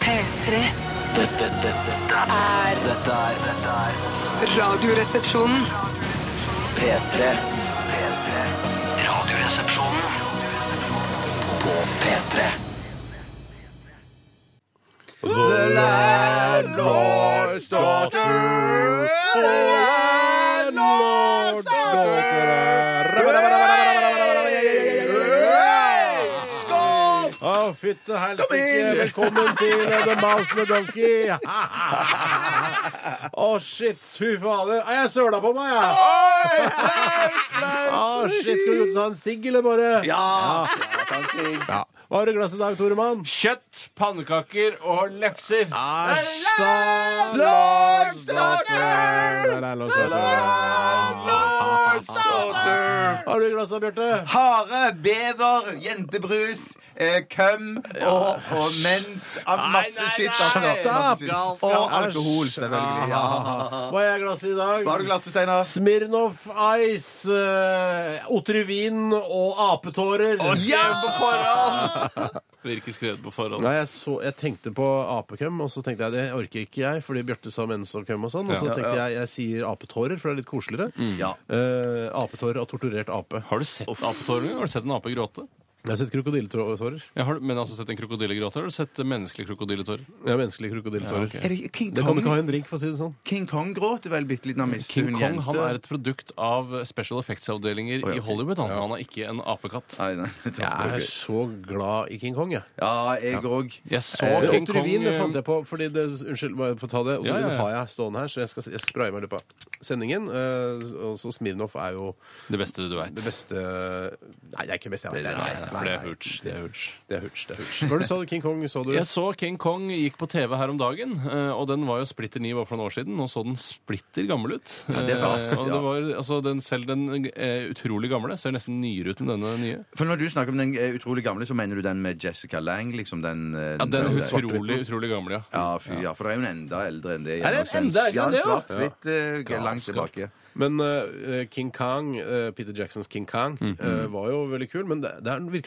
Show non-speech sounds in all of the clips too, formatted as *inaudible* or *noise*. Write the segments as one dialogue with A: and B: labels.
A: P3
B: Dette, dette, dette,
A: er
B: dette er dette er
A: Radioresepsjonen.
B: P3. P3. Radioresepsjonen på P3.
C: Å, fytte helsike! Velkommen til The Mouse and the Donkey. Å, shit! Fy fader. Nei, Jeg søla på meg, jeg. Å, shit! Skal vi gå ut og ta en sigg, eller bare?
D: Ja.
C: Ja. Hva har du i glasset i dag, Toremann?
D: Kjøtt, pannekaker og lefser.
C: Æsj, Har du i glasset, Bjarte?
D: Hare, bever, jentebrus, eh, køm og, og mens av masse skitt. altså. Masse skitt.
C: Galskap.
D: Og alkohol, selvfølgelig. Ja.
C: Hva har jeg i glasset i dag?
D: Hva har du i glasset, Steinar?
C: Smirnoff Ice, eh, Otter i vin og apetårer.
D: på forhånd!
E: Virker skrevet på forhånd.
C: Nei, jeg, så, jeg tenkte på apekøm, og så tenkte jeg det orker ikke jeg, fordi Bjarte sa mens og køm og sånn. Og så
E: Ja,
C: tenkte jeg jeg sier apetårer, for det er litt koseligere.
D: Ja.
C: Eh, apetårer av torturert ape.
E: Har du sett apetårer? Har du sett en ape gråte?
C: Jeg har sett krokodilletårer.
E: Ja, har du, men altså sett en krokodille gråte? Har du sett eh, menneskelige krokodilletårer?
C: Ja, menneskelige krokodilletårer.
E: Ja, ok.
D: Er det King
C: Det kan du
D: Kong?
C: ikke ha i en drink, for å si det sånn.
D: King Kong gråter vel bitte litt når han mister
E: King
D: en
E: Kong
D: jente.
E: han er et produkt av special
D: Å,
E: effects-avdelinger
D: ja,
E: i
D: ok.
E: Hollywood. Han, han er ikke en apekatt.
D: Nei, nei, det tror
C: Jeg
D: jeg
C: er
D: ikke.
C: så glad i King Kong, jeg.
D: Ja, jeg òg.
E: Jeg så
C: Ja.
E: King
C: Otter i
E: Kong
C: vin, det
E: eh,
C: fant jeg på. Fordi det, unnskyld, bare for å ta det. Otter i
E: Ja, ja,
C: vin
E: ja.
C: har jeg stående her, så jeg, skal, jeg sprayer meg i løpet av sendingen. eh, og så Smirnoff er jo
E: eh, det beste du veit.
C: det beste Nei, det er ikke det beste jeg har.
D: Nei,
C: Det er-
D: nei,
E: For det er
D: nei.
E: hurts. Det er hurts.
C: Det er hurts. det er hurts. Hva du sa du? King Kong så du?
E: Jeg så King Kong gikk på TV her om dagen, eh, og den var jo splitter ny bare for noen år siden. Nå så den splitter gammel ut.
D: det er rart,
E: Eh, og
D: ja.
E: det var, altså, den, selv den eh, utrolig gamle ser nesten nyere ut enn denne nye.
D: For når du snakker om den eh, utrolig gamle, så mener du den med Jessica Lang? liksom den... eh,
E: Ja, den
D: den-
E: utrolig, utrolig gamle, ja.
D: Ja, fy, ja, for det er jo en enda eldre enn det.
E: Er det en enda eldre enn
D: ja,
E: det, ja?
D: Svart-hvitt, eh, langt
E: Galskap.
D: tilbake.
C: Men eh, King Kong, eh, Peter Jacksons King Kong,
D: Mhm.
C: eh, var jo veldig kul. Men det, det er, virker som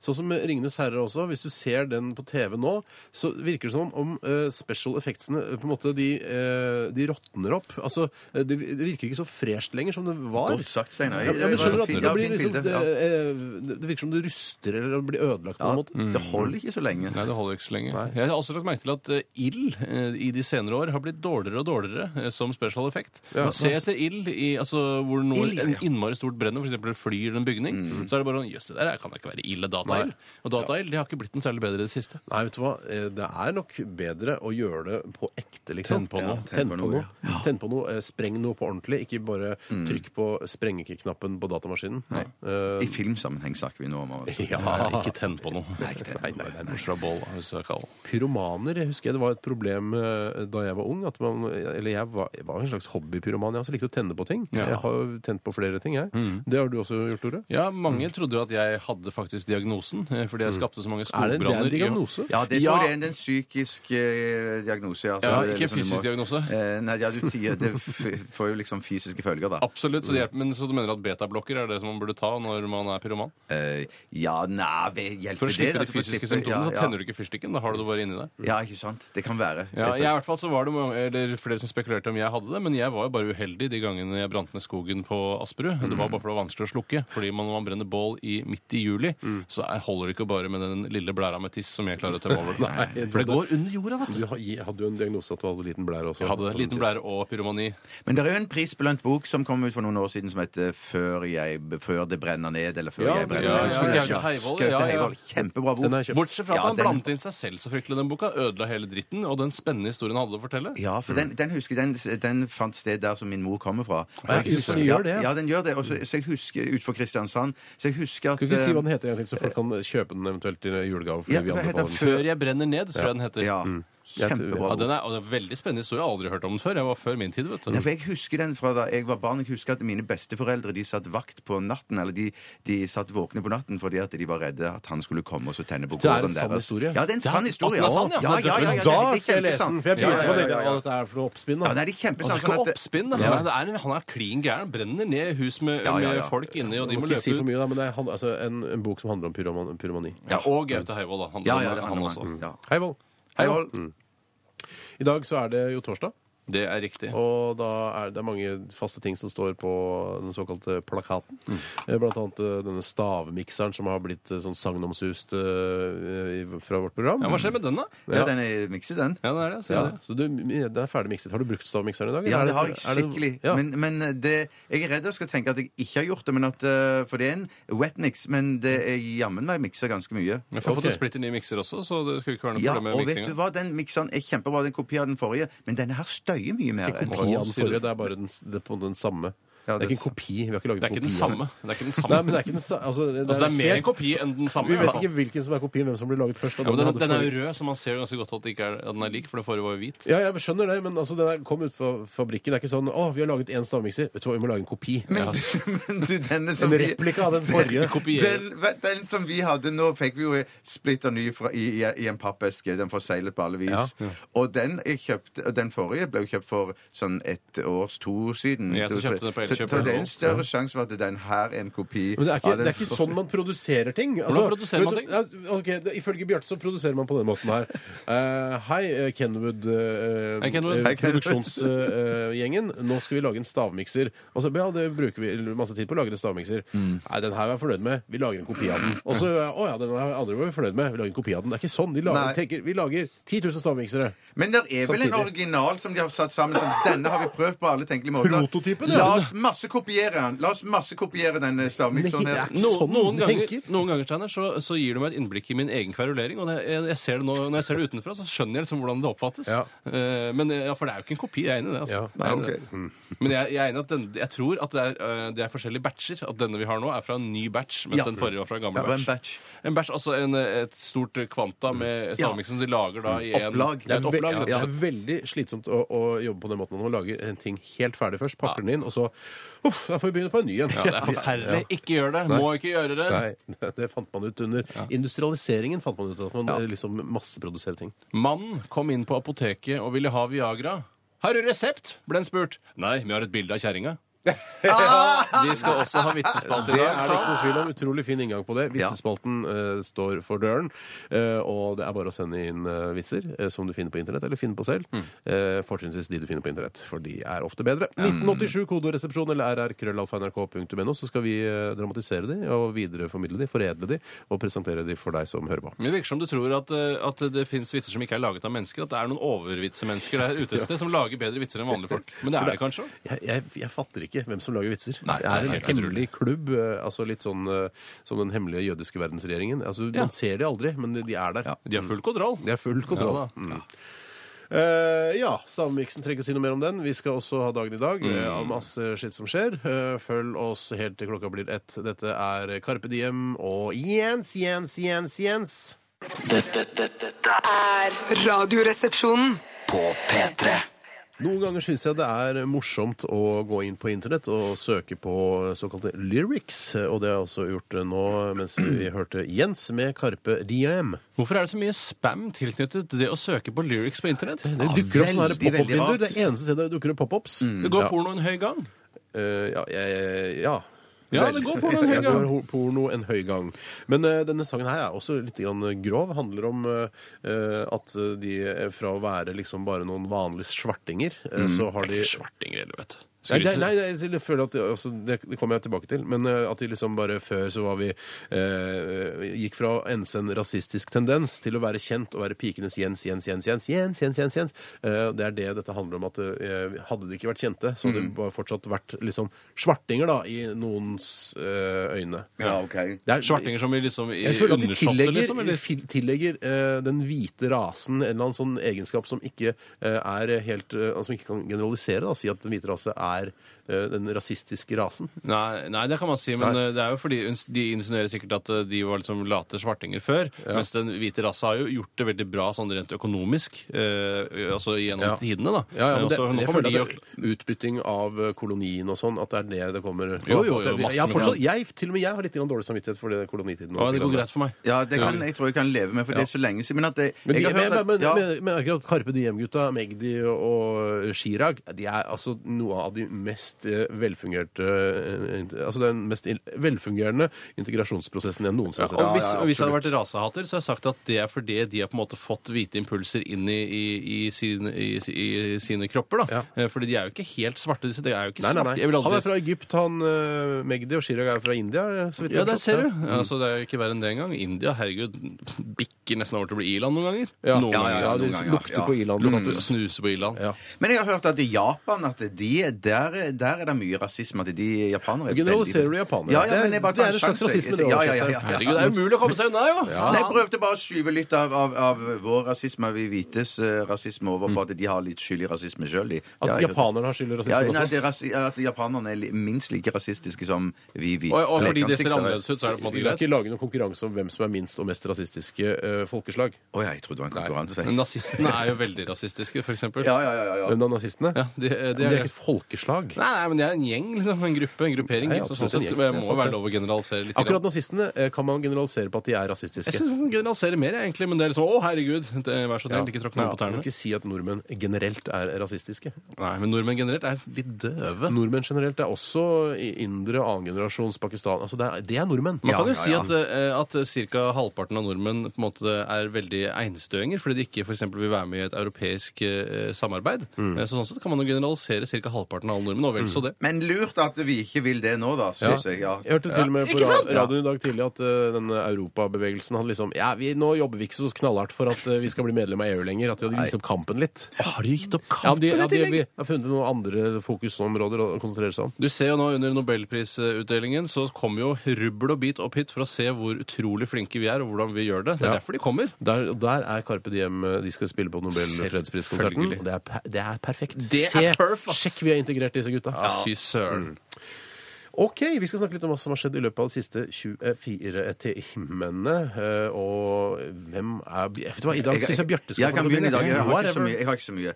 C: Sånn som Ringenes herre også, hvis du ser den på TV nå, så virker det som om eh, special effectsene eh, på en måte de, eh, de råtner opp. Altså, eh, det, det virker ikke så fresht lenger som det var.
D: Godt sagt, Steinar.
C: Ja, ja, men
D: Det var
C: skjønner du at
D: fint-
C: det,
D: ja,
C: blir
D: fint
C: liksom,
D: bilde,
C: det,
D: ja.
C: eh, det virker som det ruster eller blir ødelagt på
D: Ja,
C: en måte.
D: det holder ikke så lenge.
E: Nei, det holder ikke så lenge. Jeg har også lagt merke til at eh, ild eh, i de senere år har blitt dårligere og dårligere eh, som special effect.
C: Ja.
E: Se etter ild i altså, hvor noe
D: Ild, ja. Mm.
E: en innmari stort brenner, f.eks. flyr en bygning, så er det bare sånn Jøss, det der kan da ikke være ild, det er dataild. Og dataild det har ikke blitt noe særlig bedre i det siste.
C: Nei, vet du hva? Eh, Det er nok bedre å gjøre det på ekte, liksom.
E: Tenn på noe.
C: Tenn på noe. Tenn på noe. eh, Spreng noe på ordentlig. Ikke bare trykk på sprengeknappen på datamaskinen. Eh,
D: I filmsammenheng snakker vi nå om altså.
C: Ja.
E: Nei, ikke tenn på noe. Nei,
D: ikke tenn på
E: nei, nei, Bortsett fra bål, hvis du er kald.
C: Pyromaner jeg husker jeg, det var et problem eh, da jeg var ung. At man, eller jeg var, jeg var en slags hobbypyroman. Jeg også likte å tenne på ting.
E: Ja.
C: Jeg har jo tent på flere ting, jeg. Det har du også gjort, Tore?
E: Ja, mange
D: Mm.
E: trodde jo at jeg hadde faktisk diagnosen, eh, fordi jeg skapte så mange
C: Er det, det er
E: skogbranner.
C: en diagnose?
D: Ja, det
E: Ja.
D: tror jeg er en- en psykisk eh, diagnose. Altså,
E: Ja,
D: Det er
E: ikke
D: liksom du
E: fysisk diagnose.
D: Eh, nei, ja, du sier Det f får jo liksom fysiske følger, da.
E: Absolutt,
D: Mm.
E: så, det hjelper, men så du mener at betablokker er det som man burde ta når man er pyroman?
D: Eh, ja, nei, det hjelper
E: For å
D: det?
E: slippe
D: at du
E: de
D: får
E: fysiske
D: slippe- ja,
E: symptomene, så tenner du ikke fyrstikken. Da har du det bare inni deg.
D: Ja, ikke sant? Det kan være.
E: Ja, jeg, I hvert fall så var det mange- eller flere som spekulerte om jeg hadde det, men jeg var jo bare uheldig de gangene jeg brant ned skogen på Asperud. Det var bare for det var vanskelig å slukke. fordi man, når man brenner bål i, midt i juli, så er- holder det ikke bare med den lille blæra med tiss som jeg klarer å tømme *laughs* over. for det går under jorda, vet du.
C: Du ha- hadde jo en diagnose at du hadde liten blære også.
E: Jeg hadde det. Liten blære og pyromani.
D: Men det er jo en prisbelønt bok som kom ut for noen år siden som heter eh, Før, jeg, før det brenner ned, eller Før
C: Ja,
D: jeg brenner
C: ja,
D: ned.
C: ja,
D: Husker du det?
E: Gaute Heivold,
D: Gaute
E: ja, ja.
D: Heivold, Kjempebra bok.
C: Den er kjøpt.
E: Bortsett fra at
D: Ja,
E: han
D: den-
E: blandet inn seg selv så fryktelig, i den boka. Ødela hele dritten, og den spennende historien han hadde å fortelle.
D: Ja, for den, den husker jeg, den, den fant sted der som min mor kommer fra.
C: Ja, ikke sant, den gjør det, ja.
D: Ja, ja, den gjør det. Og så, så jeg husker, ut for Kristiansand, så jeg husker at
C: Skal vi ikke si
D: eh,
C: hva den heter, en gang til, så folk kan kjøpe den eventuelt i julegave? fordi
D: Ja,
C: vi
D: hva heter
C: anbefaler
D: den?
C: den.
E: Før jeg brenner ned, tror jeg den heter.
D: Ja,
C: Mm. Jeg tror-
D: kjempebra
E: Ja,
D: bok.
E: den er, og det er en veldig spennende historie. Jeg har aldri hørt om den før. Jeg var før min tid, vet
D: Ja,
E: du.
D: for jeg husker den fra da jeg var barn. Jeg husker at mine besteforeldre de satt vakt på natten, eller de, de satt våkne på natten fordi at de var redde at han skulle komme og så tenne på
C: Det er en
D: gården
C: sann
D: deres.
C: historie.
D: Ja, det er en sann historie.
E: den er sann, ja.
D: ja, ja, ja, ja, det
C: Men
D: er-
C: da
D: det er
C: skal jeg lese
D: kjempesant.
C: den, for jeg
D: Ja, ja,
C: begynte på det.
D: ja, ja,
C: Å,
D: ja.
C: dette er for noe oppspinn,
D: Ja,
C: da.
D: det er de
E: Og det
D: kjempesant.
E: er ikke
D: sånn at-
E: oppspinn. da.
D: Ja.
E: Han er, det er- han er klin gæren. Brenner ned hus med,
D: Ja, ja, ja.
E: med folk inni, og de
C: Jeg
E: må
C: må ikke si for
E: løpe ut.
C: mye, da, men det er han, altså, en, en bok som handler om pyroman, pyromani.
E: Ja, og Gaute Heivold, da. Han,
D: Ja, ja,
E: han,
D: det
E: han
D: handler om
E: også.
D: han. Ja.
C: Hei, Vold.
D: Hei, Hold.
C: I dag så er det jo torsdag.
E: Det er riktig.
C: Og da er det mange faste ting som står på den såkalte plakaten.
D: Mm.
C: Eh, Blant annet eh, denne stavmikseren som har blitt eh, sånn sagnomsust eh, i- fra vårt program.
E: Ja, hva skjer med den, da?
D: Ja, den er mikset, den.
E: Ja, det er det.
C: Ja,
E: Ja.
C: så du, den er ferdig mikset. Har du brukt stavmikseren i dag?
D: Ja,
C: eller
D: det
C: er
D: har jeg
C: er det-
D: skikkelig.
C: ja.
D: Men, men eh, det, jeg er redd jeg skal tenke at jeg ikke har gjort det. Men at, eh, for det er en wetmix, men det er jammen meg miksa ganske mye.
E: Jeg har
C: Ok.
E: fått en splitter ny mikser også, så det skal ikke være noe
D: Ja,
E: problem med
D: og vet du
E: miksinga.
D: hva, den mikseren er kjempebra. Det er en kopi av den forrige, men denne her støyer mye mer. enn
C: Kopi
D: forrige.
C: av den forrige, det er bare den, det er på den samme.
D: Ja,
C: det er
D: det-
C: ikke en kopi. Vi har ikke laget
E: Det er ikke den
C: kopi av
E: samme. Det er ikke den
C: Nei,
E: samme.
C: men det er ikke den samme. Altså, det,
E: *laughs* altså, det er mer en
C: helt-
E: kopi enn den samme. i
C: Vi
E: hvert
C: vet
E: fall.
C: ikke hvilken som er kopien, hvem som ble laget først. og
E: Ja, men
C: hvem
E: den,
C: hadde
E: den er
C: forrige.
E: jo rød, så man ser jo ganske godt at, det ikke er, at den er lik, for den forrige var jo hvit.
C: Ja, jeg skjønner det, men altså, den er- kom ut fra fabrikken. Det er ikke sånn 'Å, vi har laget én stavmikser'. Vet du hva, vi må lage en kopi.
D: Men,
E: Ja.
D: *laughs* men du, denne
C: En
D: som vi,
C: replika av den forrige.
E: Kopier.
D: den, den som vi hadde nå, fikk vi jo splitter ny fra, i, i, i en pappeske. Den forseglet på alle vis. Og den, jeg kjøpte, og den forrige ble jo kjøpt for sånn et års, to år siden.
E: Jeg som kjøpte den på
D: så,
E: Elkjøp.
D: så det er en større sjanse for at den her er en kopi.
C: Men det er, ikke,
D: av den
C: det er ikke
D: forrige.
C: sånn man produserer ting. Altså,
E: produserer man
C: vet du- ja, ok, det, Ifølge Bjarte så produserer man på den måten her. *laughs* Eh, hei, eh, Kenwood. eh,
E: Hei, Kenwood.
C: eh,
E: Hei,
D: Kenwood.
C: Produksjonsgjengen. Nå skal vi lage en stavmikser. Og så, ja, det bruker vi masse tid på å lage en stavmikser. Nei, den her er jeg fornøyd med. Vi lager en kopi av den. Og så, eh, å ja, den her andre var vi fornøyd med. Vi lager en kopi av den. Det er ikke sånn. Vi lager,
D: Nei.
C: tenker, vi lager 10 000 stavmiksere.
D: Men det er vel en
C: Samtidig.
D: original som de har satt sammen. Sånn, denne har vi prøvd på alle tenkelige måter.
C: Prototypen, ja.
D: La oss massekopiere den. La oss massekopiere denne eh, stavmikseren
C: Nei, det er
D: her.
C: ikke
E: Noen,
C: sånn
E: noen
C: du
E: ganger,
C: tenker.
E: noen ganger Steiner, så, så gir du meg et innblikk i min egen kverulering. Og det, jeg, jeg ser det nå, når jeg ser det utenfra, så skjønner jeg liksom hvordan det oppfattes.
C: Ja.
E: Eh, men eh, ja, For det er jo ikke en kopi. Jeg er enig i det. altså.
C: Ja. Mm.
D: Nei,
E: Jeg er enig i det. *laughs* Men jeg, jeg er enig i at den, jeg tror at det er, eh, det er forskjellige batcher. At denne vi har nå, er fra en ny batch, mens
C: Ja.
E: den forrige var fra en gammel
D: Ja, bare en
E: batch. En batch, Altså en, eh, et stort kvanta med stavmikser som de lager da i en,
D: Opplag.
E: Det er et
C: Ve- ja,
E: opplag. rett og
C: det
E: slett.
C: er veldig slitsomt å, å jobbe på den måten. Man lager en ting helt ferdig først, pakker den inn, og så uff, da får vi begynne på en ny en.
E: Ja, det er forferdelig. Ikke gjør det. Må ikke gjøre det.
C: Nei, *laughs* det fant man ut under industrialiseringen. fant man ut At man eh, liksom masseproduserer ting.
E: Mannen kom inn på apoteket og ville ha Viagra. Har du resept? ble han spurt. Nei, men jeg har et bilde
C: *laughs*
E: av kjerringa. De skal også ha vitsespalte
C: Det
E: i dag.
C: er det ikke noe tvil om. Utrolig fin inngang på det.
D: Ja.
C: Vitsespalten eh, står for døren. eh, og det er bare å sende inn eh, vitser eh, som du finner på internett, eller finner på selv.
E: Mm.
C: Eh, fortrinnsvis de du finner på internett, for de er ofte bedre. 1987, kodoresepsjon eller rrkrøllalfa.nrk.no, så skal vi eh, dramatisere de og videreformidle de, foredle de og presentere de for deg som hører på.
E: Men Det virker som du tror at, eh, at det fins vitser som ikke er laget av mennesker. At det er noen overvitsemennesker
C: *laughs*
E: der ute et sted som lager bedre vitser enn vanlige folk. Men det er det kanskje?
C: Jeg, jeg, jeg fatter ikke hvem som lager vitser.
E: Nei,
C: det er en
E: nei, jeg tror
C: hemmelig klubb, eh, altså litt sånn eh, som den hemmelige jødiske verdensregjeringen. Altså,
E: Ja.
C: Man ser de aldri, men de de er der.
E: De har full kontroll.
C: Det er full kontroll.
E: Ja da.
C: Ja, mm. Eh, ja Stavmiksen trenger ikke å si noe mer om den. Vi skal også ha dagen i dag. eh, av masse skitt som skjer. Eh, følg oss helt til klokka blir ett. Dette er Carpe Diem og Jens, Jens, Jens, Jens.
B: Dette, dette, dette er
A: er Radioresepsjonen.
B: på P3.
C: Noen ganger syns jeg det er morsomt å gå inn på internett og søke på såkalte lyrics, og det har jeg også gjort eh, nå mens vi hørte Jens med Carpe Diem.
E: Hvorfor er det så mye spam tilknyttet det å søke på lyrics på internett?
C: Det dukker opp sånne her
D: veldig, veldig
C: pop-up-vinduer.
D: rart.
C: Det er eneste stedet det dukker opp pop-ups.
E: Mm. Ah, Det går porno en høy gang.
C: Eh, ja, jeg- ja.
E: Ja, det går
C: *laughs*
E: porno en høy
C: Jeg går
E: gang.
C: ho- porno en høy gang. Men eh, denne sangen her er også litt grann grov. Handler om eh, eh, at de eh, fra å være liksom bare noen vanlige svartinger, eh,
E: Mm.
C: så har de
E: Svartinger, vet du.
C: Nei, nei, nei, jeg jeg føler at det, altså, det, det kommer jeg tilbake til. Men eh, at de liksom bare før så var vi eh, Gikk fra å ense en rasistisk tendens til å være kjent og være pikenes Jens, Jens, Jens, Jens, Jens, Jens, Jens, Jens. Eh, det er det dette handler om. at eh, Hadde de ikke vært kjente, så hadde det bare fortsatt vært liksom svartinger da, i noens eh, øyne.
D: Ja, ok.
C: Det er-
E: Svartinger som vi liksom i-
C: jeg føler at de
E: undersåtter,
C: tillegger,
E: liksom? Eller?
C: fil- tillegger eh, den hvite rasen en eller annen sånn egenskap som ikke eh, er helt eh, altså, Som ikke kan generalisere. Da, si at den hvite rase er eh, den rasistiske rasen.
E: Nei, nei, det kan man si, men
C: Nei.
E: eh, det er jo fordi hun- de insinuerer sikkert at eh, de var liksom late svartinger før, mens den hvite rassa har jo gjort det veldig bra sånn rent økonomisk, eh, altså gjennom
C: Ja.
E: tidene, da.
C: Ja, ja, men
E: Eh,
C: det,
E: også, nå
C: jeg
E: kommer
C: føler
E: de
C: at det er utbytting av eh, kolonien og sånn, at det er det det kommer
E: Jo, jo, jo,
C: at det-
E: masse
C: jeg, har fortsatt,
E: koloni.
C: jeg, Til og med jeg har litt grann dårlig samvittighet for det kolonitiden.
E: og- Å, det går greit for meg.
D: Ja, det kan, jeg tror jeg kan leve med, for det er så lenge siden. Men at det,
C: Men, de,
D: jeg har
C: men,
D: hørt at-
C: men,
D: ja.
C: men, men akkurat Carpe Diem-gutta, Magdi og Chirag, de er altså noe av de de mest eh, velfungerte eh, int- Altså den mest il- velfungerende integrasjonsprosessen jeg noensinne har sett.
E: og hvis, og hvis jeg hadde vært rasehater, så har jeg sagt at det er fordi de har på en måte fått hvite impulser inn i, i, i, sine, i, i sine kropper. da.
C: Ja.
E: Eh, Fordi de er jo ikke helt svarte. disse. De er jo ikke
C: Nei, nei,
E: svarte.
C: nei.
E: Jeg vil aldri-
C: Han er fra Egypt, han eh, Magdi, og Chirag er fra India. eh, Så vidt jeg
E: Ja,
C: har
E: der
C: skjønt,
E: ser du. Altså, det er jo ikke verre enn det engang. India, herregud, bikker nesten over til å bli Irland noen ganger.
C: Ja.
E: Noen
C: Ja,
E: ganger.
C: ja,
D: ja,
C: de
D: noen ganger,
C: lukter
D: ja. Mm.
C: på Irland-status.
E: Snuse på Irland.
C: Ja.
D: Men jeg har hørt at i Japan at de, der, der er det mye rasisme. At de japanere er
C: Du generaliserer jo japanere.
D: Ja, ja,
C: Det er-
D: men jeg bare
C: det er en slags
D: sjanse,
C: rasisme,
D: jeg-
C: det
D: Ja,
C: også,
D: ja, ja,
C: Kjøstheim.
D: ja.
E: Herregud, det er umulig å komme seg unna, jo!
D: Nei, Jeg prøvde bare å skyve litt av, av, av vår rasisme, vi hvites eh, rasisme, over på at de har litt skyld i rasisme sjøl.
C: Mm. At japanerne har skyld i
D: ja,
C: rasismen
D: nei,
C: også.
D: det er rasi At japanerne er li minst like rasistiske som vi hvite.
E: Og, og fordi det ser
D: blekansikter.
E: annerledes ut, så er det på en
C: Vi kan
E: måte greit.
C: ikke lage noen konkurranse om hvem som er minst og mest rasistiske eh, folkeslag.
D: Å ja, jeg trodde det var en konkurranse.
E: Men
D: sier jeg.
E: nazistene er jo veldig rasistiske, for eksempel.
D: Ja, ja, ja, ja, ja.
C: Hvem da, nazistene?
E: Ja, de, de,
C: Det
E: er,
C: er ikke et folkeslag.
E: Nei, nei, men de er en gjeng, liksom. En gruppe, en gruppering.
C: Nei,
E: så
C: absolutt en
E: sånn sett
C: gjeng.
E: men
C: Det er
E: må
C: sant,
E: være
C: det.
E: lov å generalisere litt.
C: Akkurat
E: grann.
C: nazistene eh, kan man generalisere på at de er
E: Jeg
C: rasistiske.
E: syns man generaliserer mer, jeg, egentlig, men det er liksom Å, herregud! Det, vær så snill, ikke tråkk noen på
C: Du kan
E: tærne.
C: ikke si at nordmenn generelt er rasistiske.
E: Nei, men nordmenn generelt er litt døve.
C: Nordmenn generelt er også i- indre, annengenerasjons Pakistan. Altså, det er, det er nordmenn.
E: Man kan jo
D: ja,
E: si
D: ja.
E: at, eh, at ca. halvparten av nordmenn på en måte er veldig einstøinger, fordi de ikke for eksempel vil være med i et europeisk eh, samarbeid. Eh, Så sånn sett kan man jo generalisere ca. halvparten av alle nordmenn, og vel så det.
D: Men lurt at vi ikke vil det nå, da, syns jeg. Ja.
C: Jeg hørte til og med på
D: Ikke sant?
C: ra- radioen i dag tidlig at eh, denne europabevegelsen hadde liksom Ja, vi, nå jobber vi ikke så knallhardt for at eh, vi skal bli medlem av EU lenger. At de hadde gitt opp kampen litt.
E: Har de gitt opp
C: Ja, de, ja, de, vi har funnet noen andre fokusområder å konsentrere seg om.
E: Du ser jo nå Under nobelprisutdelingen så kommer jo rubbel og bit opp hit for å se hvor utrolig flinke vi er, og hvordan vi gjør det. Det er
C: Ja.
E: derfor de kommer.
C: Der, og der er Carpe Diem eh, De skal spille på Nobel fredspriskonserten.
E: Selvfølgelig.
C: og Det, er per- det er perfekt.
E: Det
C: Se,
E: er perf, ass.
C: sjekk, vi har integrert disse gutta.
E: Ah, Fy søren.
C: OK, vi skal snakke litt om hva som har skjedd i løpet av de siste 24 timene. eh, Og hvem er Vet du hva, i dag syns jeg Bjarte skal
D: jeg kan
C: få
D: begynne i dag. Jeg har ikke så
C: Whatever.
D: mye. Jeg har ikke så mye.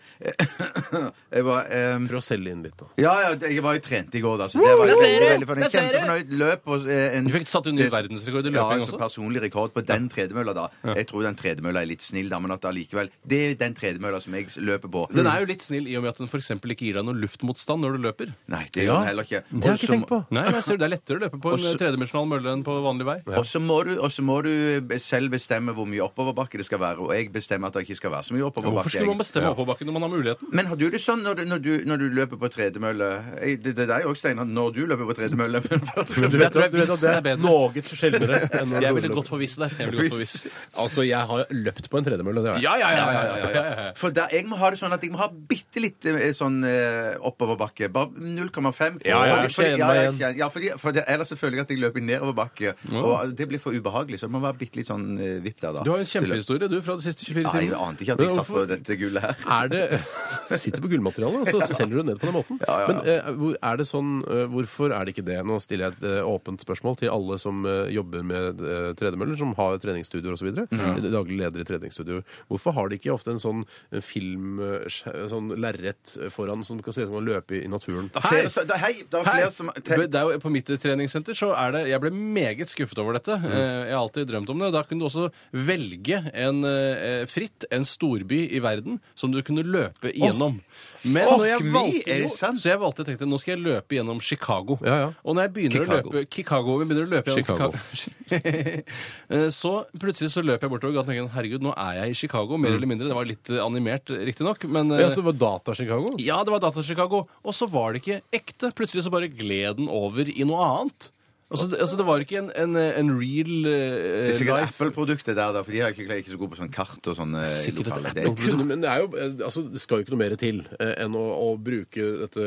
D: *coughs* Jeg var, ehm,
C: Prøv å selge inn litt, da.
D: ja, ja, jeg var jo trent i går, da. Så det var jeg veldig, veldig fornøyd. Kjempefornøyd. Løp og eh, en
E: Du fikk satt en ny verdensrekord i løping
D: ja, altså
E: også.
D: personlig rekord på den tredemølla, da. Jeg tror den tredemølla er litt snill, da, men at allikevel Det er den tredemølla som jeg løper på.
E: Den er jo litt snill i og med at den for eksempel ikke gir deg noe luftmotstand når du løper.
D: Nei, det gjør
C: Ja.
D: den heller ikke.
C: Det har jeg
D: Og så
C: ikke tenkt
D: må-
C: på.
E: Nei, men jeg ser, Det er lettere å løpe på en tredimensjonal mølle enn på vanlig vei.
D: Og så må, du- og så må du selv bestemme hvor mye oppoverbakke det skal være. Og jeg bestemmer at det ikke skal være så mye oppoverbakke.
E: Hvorfor skulle man
D: jeg.
E: bestemme oppoverbakken når man har muligheten?
D: Men har du det sånn når du, når du, når du løper på tredemølle Jeg- Det, det er deg òg, Steinar, når du løper på tredemølle. men-
C: Du
E: vet
C: vet,
E: at-
C: du vet at det
E: det er
C: er
E: bedre.
C: noe sjeldnere enn når
E: *laughs* Jeg
C: du
E: ville
C: løper.
E: gått for viss der. Jeg ville gått for viss.
C: Altså, jeg har løpt på en tredemølle. Det har
D: Ah,
C: jeg.
E: Ja, ja, ja, ja, ja, ja, ja.
D: *laughs* For der, jeg må ha det sånn at jeg må ha bitte litt eh, sånn eh, oppoverbakke. Bare 0,5.
C: Ja, ja,
D: Og- fordi-
C: jeg kjenner
D: ja,
C: meg
D: jeg kjenner- ja, fordi- for det- ellers så føler jeg at jeg løper i nedoverbakke. Og det blir for ubehagelig. Så det må være bitte litt sånn eh, vipp der, da.
E: Du har jo en kjempehistorie du, fra de siste 24
D: Nei, jeg
E: timene.
D: ante ikke at jeg
C: Men
D: satt på
C: hvorfor-
D: dette gullet her.
C: Er det *laughs* Du sitter på gullmaterialet, og så selger du det ned på den måten. Men eh, hvor- er det sånn, eh, hvorfor er det ikke det? Nå stiller jeg et eh, åpent spørsmål til alle som eh, jobber med eh, tredemøller, som har treningsstudioer osv. Mm. Daglig leder i treningsstudioer. Hvorfor har de ikke ofte en sånn eh, film, eh, skje- sånn lerret foran som kan se ut som man løper i- i naturen?
D: Det er flere som- det er- Hei! Det er
E: Hei!
D: flere som
E: Det er jo, på mitt treningssenter så er det Jeg ble meget skuffet over dette. Eh, Jeg har alltid drømt om det. Da kunne du også velge en, eh, fritt en storby i verden som du kunne løpe igjennom. Men
D: Fuck
E: når jeg
D: me,
E: valgte,
D: er det
E: jo-
D: sant?
E: så jeg valgte tenkte jeg, nå skal jeg løpe gjennom Chicago.
C: Ja, ja.
E: Og når jeg begynner
C: Chicago.
E: å løpe Chicago, vi begynner å løpe gjennom
C: Chicago.
E: Chicago. *laughs* Eh, så plutselig så løper jeg bortover gaten og tenker herregud, nå er jeg i Chicago, mer eller mindre. Det var litt eh, animert, riktignok, men eh,
C: Ja, så det var Data-Chicago?
E: ja, det var Data-Chicago. Og så var det ikke ekte. Plutselig så bare gled den over i noe annet. Altså, det, altså, det var ikke en, en, en real eh,
D: Det er sikkert
E: life.
D: Apple-produktet der, da, for de er jo ikke, ikke så gode på sånn kart og sånne
E: Sikkert et
D: lokaler. Det er-
C: Men kunne, men det, er jo, eh, altså, det skal jo ikke noe mer til eh, enn å, å bruke dette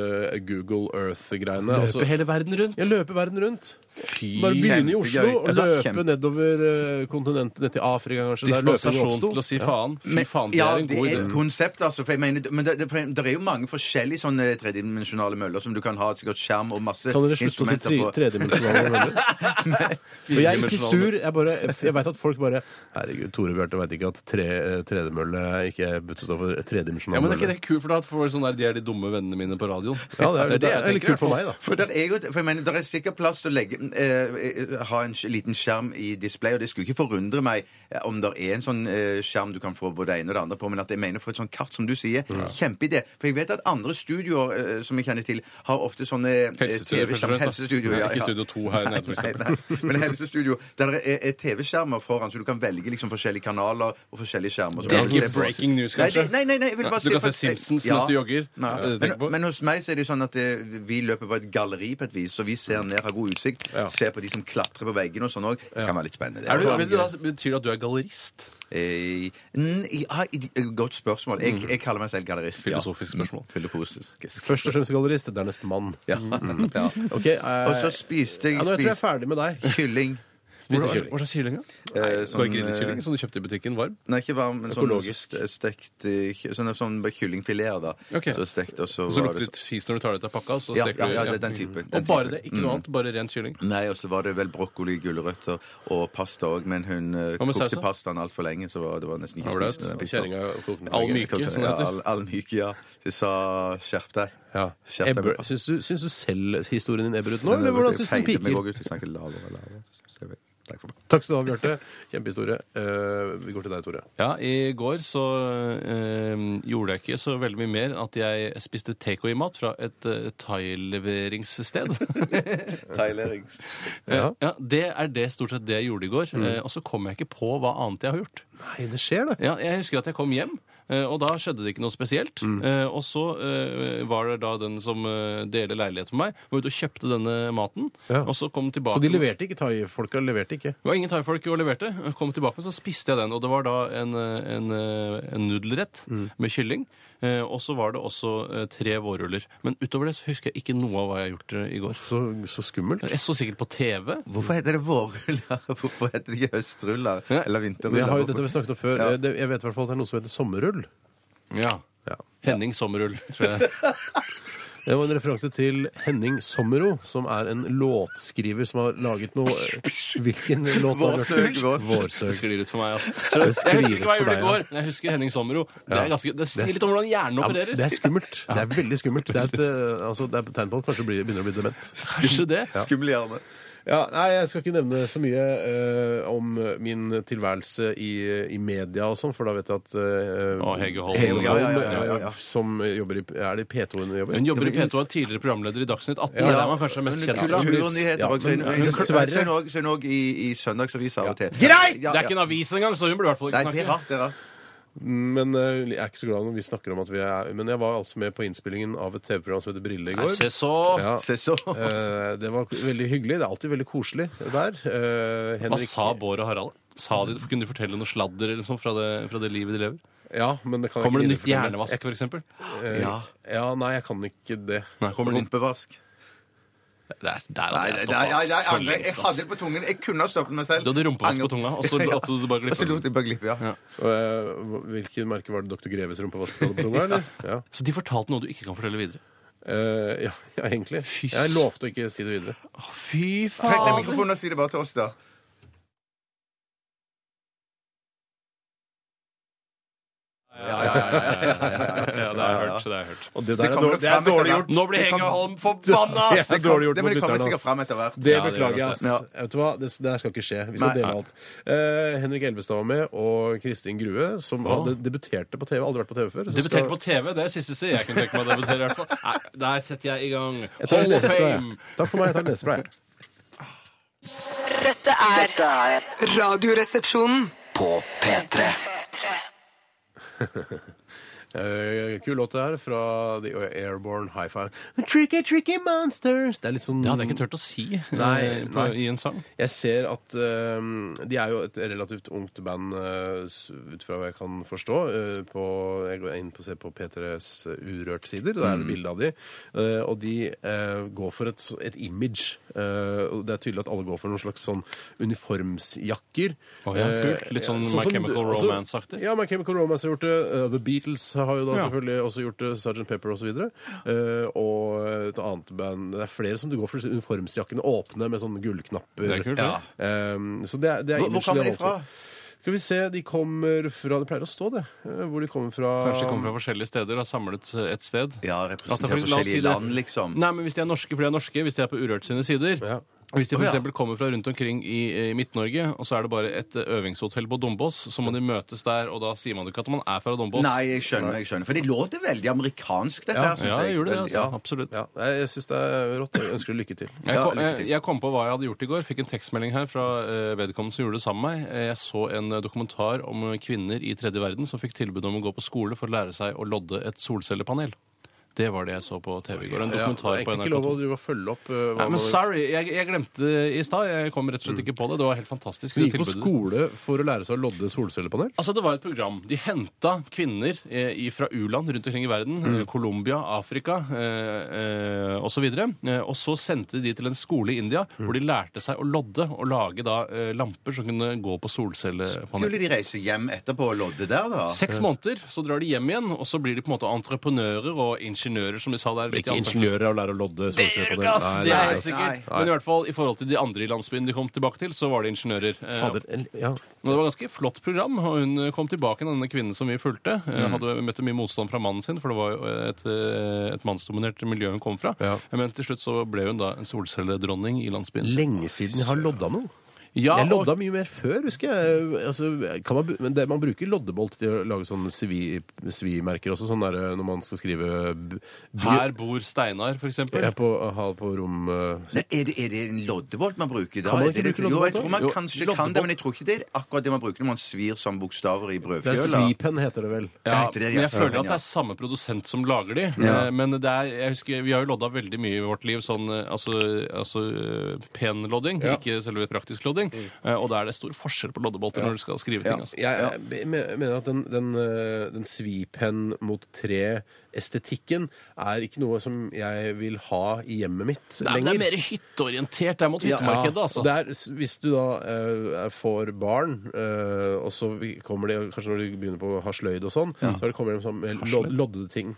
C: Google Earth-greiene.
E: Løpe
C: altså-
E: hele verden rundt.
C: Jeg løper verden rundt. Bare begynne i Oslo
D: kjempegøy.
C: og
D: Altså,
C: løpe
D: kjempe-
C: nedover eh, kontinentet, ned til Afrika kanskje. Der løpingen
E: Dispensasjon
C: oppsto.
E: til å si faen. Fy
D: Men-
E: faen, det
D: ja,
E: er en god
D: det er
E: idé.
D: et konsept, altså. For jeg mener, men det, det, for det er jo mange forskjellige sånne tredimensjonale møller som du kan ha sikkert skjerm og masse
C: Kan dere slutte å si
D: instrumenter
C: tre- tredimensjonale Og jeg er ikke sur, jeg, bare, jeg veit at folk bare Herregud, Tore Bjarte veit ikke at tre- eh, tredemølle ikke er betydelig for tredimensjonal
E: Ja, men er ikke
C: mølle.
E: det kult for deg at for sånn der, de er de dumme vennene mine på radioen?
C: Ja, det er, det er, litt
E: tenker,
C: kult for meg, da.
D: For, der er jo, for jeg mener, der er sikkert plass til å legge, eh, ha en sk- liten skjerm i display, og det skulle ikke forundre meg eh, om det er en sånn eh, skjerm du kan få både det ene og det andre på, men at jeg mener for et sånt kart, som du sier, kjempeidé. For jeg vet at andre studioer eh, som jeg kjenner til, har ofte sånne eh,
E: Helsestudio, først og
D: TV-skjerm.
E: fremst, da.
D: Helsestudio,
E: Nei, ikke Studio 2 her nede, for
D: Nei,
E: eksempel.
D: nei, nei. Men helsestudio, der er, er TV-skjermer foran, så du kan velge liksom forskjellige kanaler og forskjellige skjermer.
E: Det er
D: Så du kan
E: ikke
D: se på-
E: breaking news,
D: Nei,
E: kanskje?
D: Nei, nei, nei, jeg vil bare si
E: Du kan se
D: for-
E: Simpsons mens du jogger.
D: Nei.
E: Ja, det tenker jeg på.
D: Men, men hos meg så er det jo sånn at eh, vi løper på et galleri på et vis, så vi ser ned, har god utsikt, ser på de som klatrer på veggene og sånn òg. Det kan være litt spennende. det.
E: Er du, vil det da, betyr det at du er gallerist?
D: Eh, n- ja, i- eh, Godt spørsmål. Jeg, jeg kaller meg selv gallerist. ja.
E: Mhm. Filosofisk spørsmål.
D: Mm, Filosofisk.
C: Først og fremst gallerist, dernest mann.
D: Ja.
E: Mhm.
D: ja.
C: Ok, eh,
D: Og så spiste jeg
C: ja, nå tror jeg jeg er
D: spiste
C: ferdig med
D: *laughs*
C: deg.
D: kylling.
C: Spiste
E: Hva
C: kylling.
E: slags kylling, da?
D: Eh,
E: Sånn,
D: sånn, eh,
E: Grillkylling som du kjøpte i butikken varm?
D: Nei, ikke varm, men sånn
C: Økologisk.
D: st- stekt eh, ky- Sånn, sånn bare kyllingfileter, da.
E: Ok.
D: Så stekt, og så,
E: Og så
D: var
E: lukter
D: det sånn.
E: det fis når du tar det ut av pakka, og så
D: Ja,
E: steker
D: ja,
E: du
D: ja, det er den typen, den
E: Og bare
D: typen. Mm.
E: det, ikke noe annet, bare rent kylling.
D: sånn- Nei, og så var det vel brokkoli, gulrøtter og pasta òg, men hun eh,
E: Hva med
D: kokte
E: sausen?
D: pastaen altfor lenge, så var, det var nesten ikke
E: Ålreit.
D: spisende. den pizzaen.
C: Kjerringa kokte den
E: All
C: lenge.
E: myke, sånn
D: ja,
E: heter.
D: all, all myke, ja. De sa skjerp deg.
C: Ja.
D: Skjerp deg.
C: Ebbe, syns, du, syns du selv historien din ebber ut nå, eller hvordan syns du den
D: Jeg
C: piker?
D: går ut og snakker lavere og lavere. så synes jeg vel- Takk for meg.
C: Takk skal du ha, Bjarte. Kjempehistorie. Eh, vi går til deg, Tore.
E: Ja, I går så eh, gjorde jeg ikke så veldig mye mer enn at jeg spiste takeaway-mat fra et eh,
D: *laughs*
E: thaileveringssted. *laughs*
C: Ja.
E: ja, det er det stort sett det jeg gjorde i går.
D: Mm.
E: Eh, og så kom jeg ikke på hva annet jeg har gjort.
C: Nei, det skjer, det.
E: Ja, jeg husker at jeg kom hjem. eh, Og da skjedde det ikke noe spesielt.
D: Mm.
E: Eh, og så eh, var det da den som eh, deler leilighet med meg, var ute og kjøpte denne maten.
C: Ja.
E: Og så kom tilbake
C: Så de leverte ikke? Thai-folka leverte ikke?
E: Det var ingen thaifolk og leverte. Jeg Kom tilbake, med, så spiste jeg den. Og det var da en, eh, en, eh, en nudelrett med kylling. eh, Og så var det også eh, tre vårruller. Men utover det så husker jeg ikke noe av hva jeg har gjort eh, i går.
C: Så, så skummelt.
E: Jeg så sikkert på TV.
D: Hvorfor heter det vårruller? *laughs* Hvorfor heter det ikke høstruller eller vinterruller?
C: Men jeg har jo, dette har vi snakket om før.
D: Ja.
C: Eh, Det, jeg vet i hvert fall at det er noe som heter sommerrull.
E: Ja.
C: Ja.
E: Henning Sommerrull, *laughs* tror jeg.
C: Det var en referanse til Henning Sommero, som er en låtskriver som har laget noe eh, Hvilken låt? har du hørt?
D: Vårsøg, vårsøg.
E: Det
C: Vårsøg.
E: sklir ut for meg, altså.
C: Det
E: Jeg husker
C: sklir ut
E: ikke hva
C: for
E: jeg gjorde
C: deg,
E: i
C: ja.
E: går, men jeg husker Henning Sommerro. Det, er ganske, det sier litt om hvordan hjernen
C: Ja, men
E: opererer.
C: det er skummelt. Det er veldig skummelt. Det er et, eh, altså, det er et tegn på at kanskje du blir- begynner å bli dement.
E: Kanskje det.
D: Skummel hjerne.
C: Ja, nei, Jeg skal ikke nevne så mye eh, om min tilværelse i, i media og sånn, for da vet jeg at eh,
E: Å, Ah, Hege Holm.
C: Hege Holm
D: Ja, ja, ja, ja, ja.
C: eh, som jobber i Er det i P2 hun jobber?
E: Hun jobber i P2 og er tidligere programleder i Dagsnytt 18. Det er der man kanskje er mest kjent for. da.
D: Kulturnyheter
C: Ja,
D: også.
C: men-
D: Hun- hun-
C: dessverre.
D: Så er hun også- så er hun òg i, i søndagsaviser av og til.
E: Greit!
D: Ja,
E: Det er ikke en avis engang, så hun burde i hvert fall
D: Nei,
E: ikke
D: det er
E: snakke.
D: rart. det er rart.
C: Men eh, jeg er ikke så glad når vi snakker om at vi er Men jeg var altså med på innspillingen av et TV-program som heter Brille i
E: Nei,
C: går.
E: se så!
C: Ja.
D: Se så.
C: Eh, det var veldig hyggelig. Det er alltid veldig koselig der. Eh,
E: Hva
C: Henrik-
E: sa Bård og Harald? Sa de, Kunne du fortelle noe sladder eller sånn fra, det- fra det livet de lever?
C: Ja, men det kan
E: Kommer det
C: jeg
E: nytt
C: ikke videreformidle.
E: hjernevask, f.eks.?
C: Eh,
D: Ja.
C: ja, nei, jeg kan ikke det.
E: Nei, kommer det nytt
D: Rumpevask.
E: Der, der
D: Nei,
E: hadde jeg
D: nei,
E: stoppa
D: nei, nei,
E: ass,
D: nei,
E: for
D: jeg
E: lengst,
D: hadde
E: ass.
D: det på tungen. Jeg kunne ha stoppet meg selv.
E: Du hadde rumpevask
D: Angrer-
E: på tunga, og *laughs* så lot du bare glippe
D: Og så lot jeg bare glippe, ja.
C: Eh, hvilken merke var det Dr. Greves rumpevask hadde på
E: *laughs*
C: tunga, eller? Ja.
E: Så de fortalte noe du ikke kan fortelle videre.
C: Eh, ja, *laughs* ja, egentlig.
E: Fy
C: Jeg
E: s-
C: lovte å ikke si det videre.
E: Fy
D: Trekk den
E: faen!
D: mikrofonen og si det bare til oss, da.
E: Ja, ja, ja, ja, ja, ja, ja, ja, det har jeg hørt. Det har jeg hørt.
C: Og det
D: Det
C: der er
D: kommer
C: dårlig, det
D: frem
C: er
D: etter
C: dårlig
D: hvert.
C: gjort.
E: Nå blir Henge Holm forbanna!
C: Det
E: ass!
C: er dårlig gjort
D: Det-
C: mot
D: Men det kommer
C: lytterne.
D: sikkert
C: ass.
D: fram etter hvert.
C: Det
E: Ja, det
C: beklager jeg.
E: gjør det,
C: ass.
D: ja.
C: Vet du hva? Det, det her skal ikke skje. Vi skal
D: Nei.
C: dele alt. Eh, Henrik Elvestad var med, og Kristin Grue, som hadde debuterte på TV. Aldri vært på TV før. så
E: Debutere
C: skal-
E: på TV, det er siste side jeg kunne tenke meg å debutere. i hvert fall. Nei, Der setter jeg i gang.
C: Jeg tar en
E: Hall of
C: nesespray. jeg.
E: Fame!
C: Takk for meg. Jeg tar en nesespray. jeg.
A: Dette er
B: Dette er
A: Radioresepsjonen.
B: på P3.
C: Eh, Kul låt det her fra The Airborne High Five. Tricky, tricky monsters. Det er litt sånn
E: Det hadde jeg ikke turt å si eh,
C: Nei,
E: på,
C: nei.
E: i en sang.
C: Jeg ser at eh, de er jo et relativt ungt band eh, s- ut fra hva jeg kan forstå. eh, på, jeg går inn på, ser på P3s Urørt-sider, der
E: Mm.
C: er det bilde av de. eh, og de eh, går for et, s- et image. Eh, og det er tydelig at alle går for noen slags sånn uniformsjakker.
E: Å ja, kult. Litt sånn My
C: som-
E: Chemical
C: altså,
E: Romance-aktig.
C: Ja, My Chemical Romance har gjort det. det. eh, The Beatles har jo da
E: Ja.
C: selvfølgelig også gjort det. Sgt. Pepper osv. Og, så videre. Eh, og et annet band Det er flere som går for disse uniformsjakkene åpne med sånne gullknapper.
E: Det er kult, det.
C: Ja. Eh, så det er, det er
D: Hvor, hvor
C: imaget
D: kommer de
C: valgte.
D: fra?
C: Skal vi se, de kommer fra Det pleier å stå, det. eh, Hvor de kommer fra.
E: Kanskje de kommer fra forskjellige steder og har samlet eh, et sted.
D: Ja,
E: At det
D: representerer
E: for- la oss si
D: forskjellige
E: det-
D: land, liksom.
E: Nei, men Hvis de er norske fordi de er norske, hvis de er på Urørt sine sider
C: Ja.
E: Hvis de
D: Å, ja.
E: f.eks. kommer fra rundt omkring i, i Midt-Norge, og så er det bare et eh, øvingshotell på Dombås, så må de møtes der, og da sier man jo ikke at man er fra Dombås.
D: Nei, jeg skjønner. jeg skjønner For det låter veldig amerikansk, dette her. synes
E: ja, jeg gjorde det. Altså.
D: Ja.
E: Absolutt.
C: Ja, nei, jeg syns det er rått. og Jeg ønsker deg lykke til.
E: Jeg
D: Ja,
E: kom,
D: lykke
E: jeg,
D: til.
E: jeg kom på hva jeg hadde gjort i går. Fikk en tekstmelding her fra eh, vedkommende som gjorde det sammen med meg. Eh, Jeg så en eh, dokumentar om eh, kvinner i tredje verden som fikk tilbud om å gå på skole for å lære seg å lodde et solcellepanel. Det var det jeg så på TV i går. En
C: Ja, det er
E: dokumentar på
C: egentlig ikke lov å
E: NRK2.
C: drive og følge opp eh, hva
E: Nei, men
C: man
E: sorry, jeg, jeg glemte det i stad. Jeg kom rett og slett ikke på det. Det var helt fantastisk.
C: Du
E: det
C: gikk på
E: tilbudet.
C: skole for å lære seg å lodde solcellepanel?
E: Altså, Det var et program. De henta kvinner eh, fra u-land rundt omkring i verden.
C: Mm.
E: eh, Colombia, Afrika eh, eh, osv. Eh, og så sendte de de til en skole i India
C: Mm.
E: hvor de lærte seg å lodde og lage da eh, lamper som kunne gå på solcellepanel.
D: Skulle de reise hjem etterpå og lodde der, da?
E: Seks måneder, så drar de hjem igjen, og så blir de på en måte entreprenører og ingeniører, som de sa der. litt i anførselstegn.
C: å lære å lodde
E: Nei, det er helt
D: Nei,
E: sikkert. Men i hvert fall i forhold til de andre i landsbyen de kom tilbake til, så var de ingeniører. Eh,
C: Fader, el- ja.
E: Og det var et ganske flott program, og hun kom tilbake, denne kvinnen som vi fulgte. Eh,
C: Mm.
E: Hadde møtt mye motstand fra mannen sin, for det var jo et, eh, et mannsdominert miljø hun kom fra.
C: Ja.
E: Men til slutt så ble hun da en solcelledronning i landsbyen. sin.
C: Lenge siden jeg har lodda noe.
E: Ja,
C: Jeg
E: og-
C: lodda mye mer før, husker jeg. Altså, kan man, bru- men det, man bruker loddebolt til å lage sånne svi- svimerker også, sånn der, når man skal skrive b-
E: Her bor Steinar, for eksempel.
C: Ja, på, ha på rom eh,
D: Nei, er, det, er det en loddebolt man bruker da?
C: Kan man
D: Er
C: ikke
D: det det-
C: bruke
D: Jo, jeg
C: loddebolt,
D: tror man
E: da? Jo,
D: kanskje kan det,
E: loddebolt.
D: men jeg tror ikke det er akkurat det man bruker når man svir som bokstaver i
C: Det er
D: brødfjøla.
C: svipenn, heter det altså. vel.
E: Ja,
D: heter det,
E: men jeg
D: ja.
E: føler at det
D: Ja.
E: er samme produsent som lager de. Eh, Men det er, jeg husker, vi har jo lodda veldig mye i vårt liv, sånn, eh, altså, altså eh, pen lodding,
C: Ja. Mm.
E: ikke selve praktisk lodding. Eh, Og da er det stor forskjell på loddebolter når du skal skrive ting. Altså.
C: Jeg, jeg me- mener at den, den, eh, den svipenn mot tre-estetikken er ikke noe som jeg vil ha i hjemmet mitt
E: Nei, men det
C: lenger.
E: er mer hytteorientert. Det er mot hyttemarkedet, altså.
C: og det er, s- hvis du da eh, får barn, eh, og så vi- kommer de kanskje når de begynner på hasløyd og sånn, så er det- kommer de sånn med lod, loddede ting.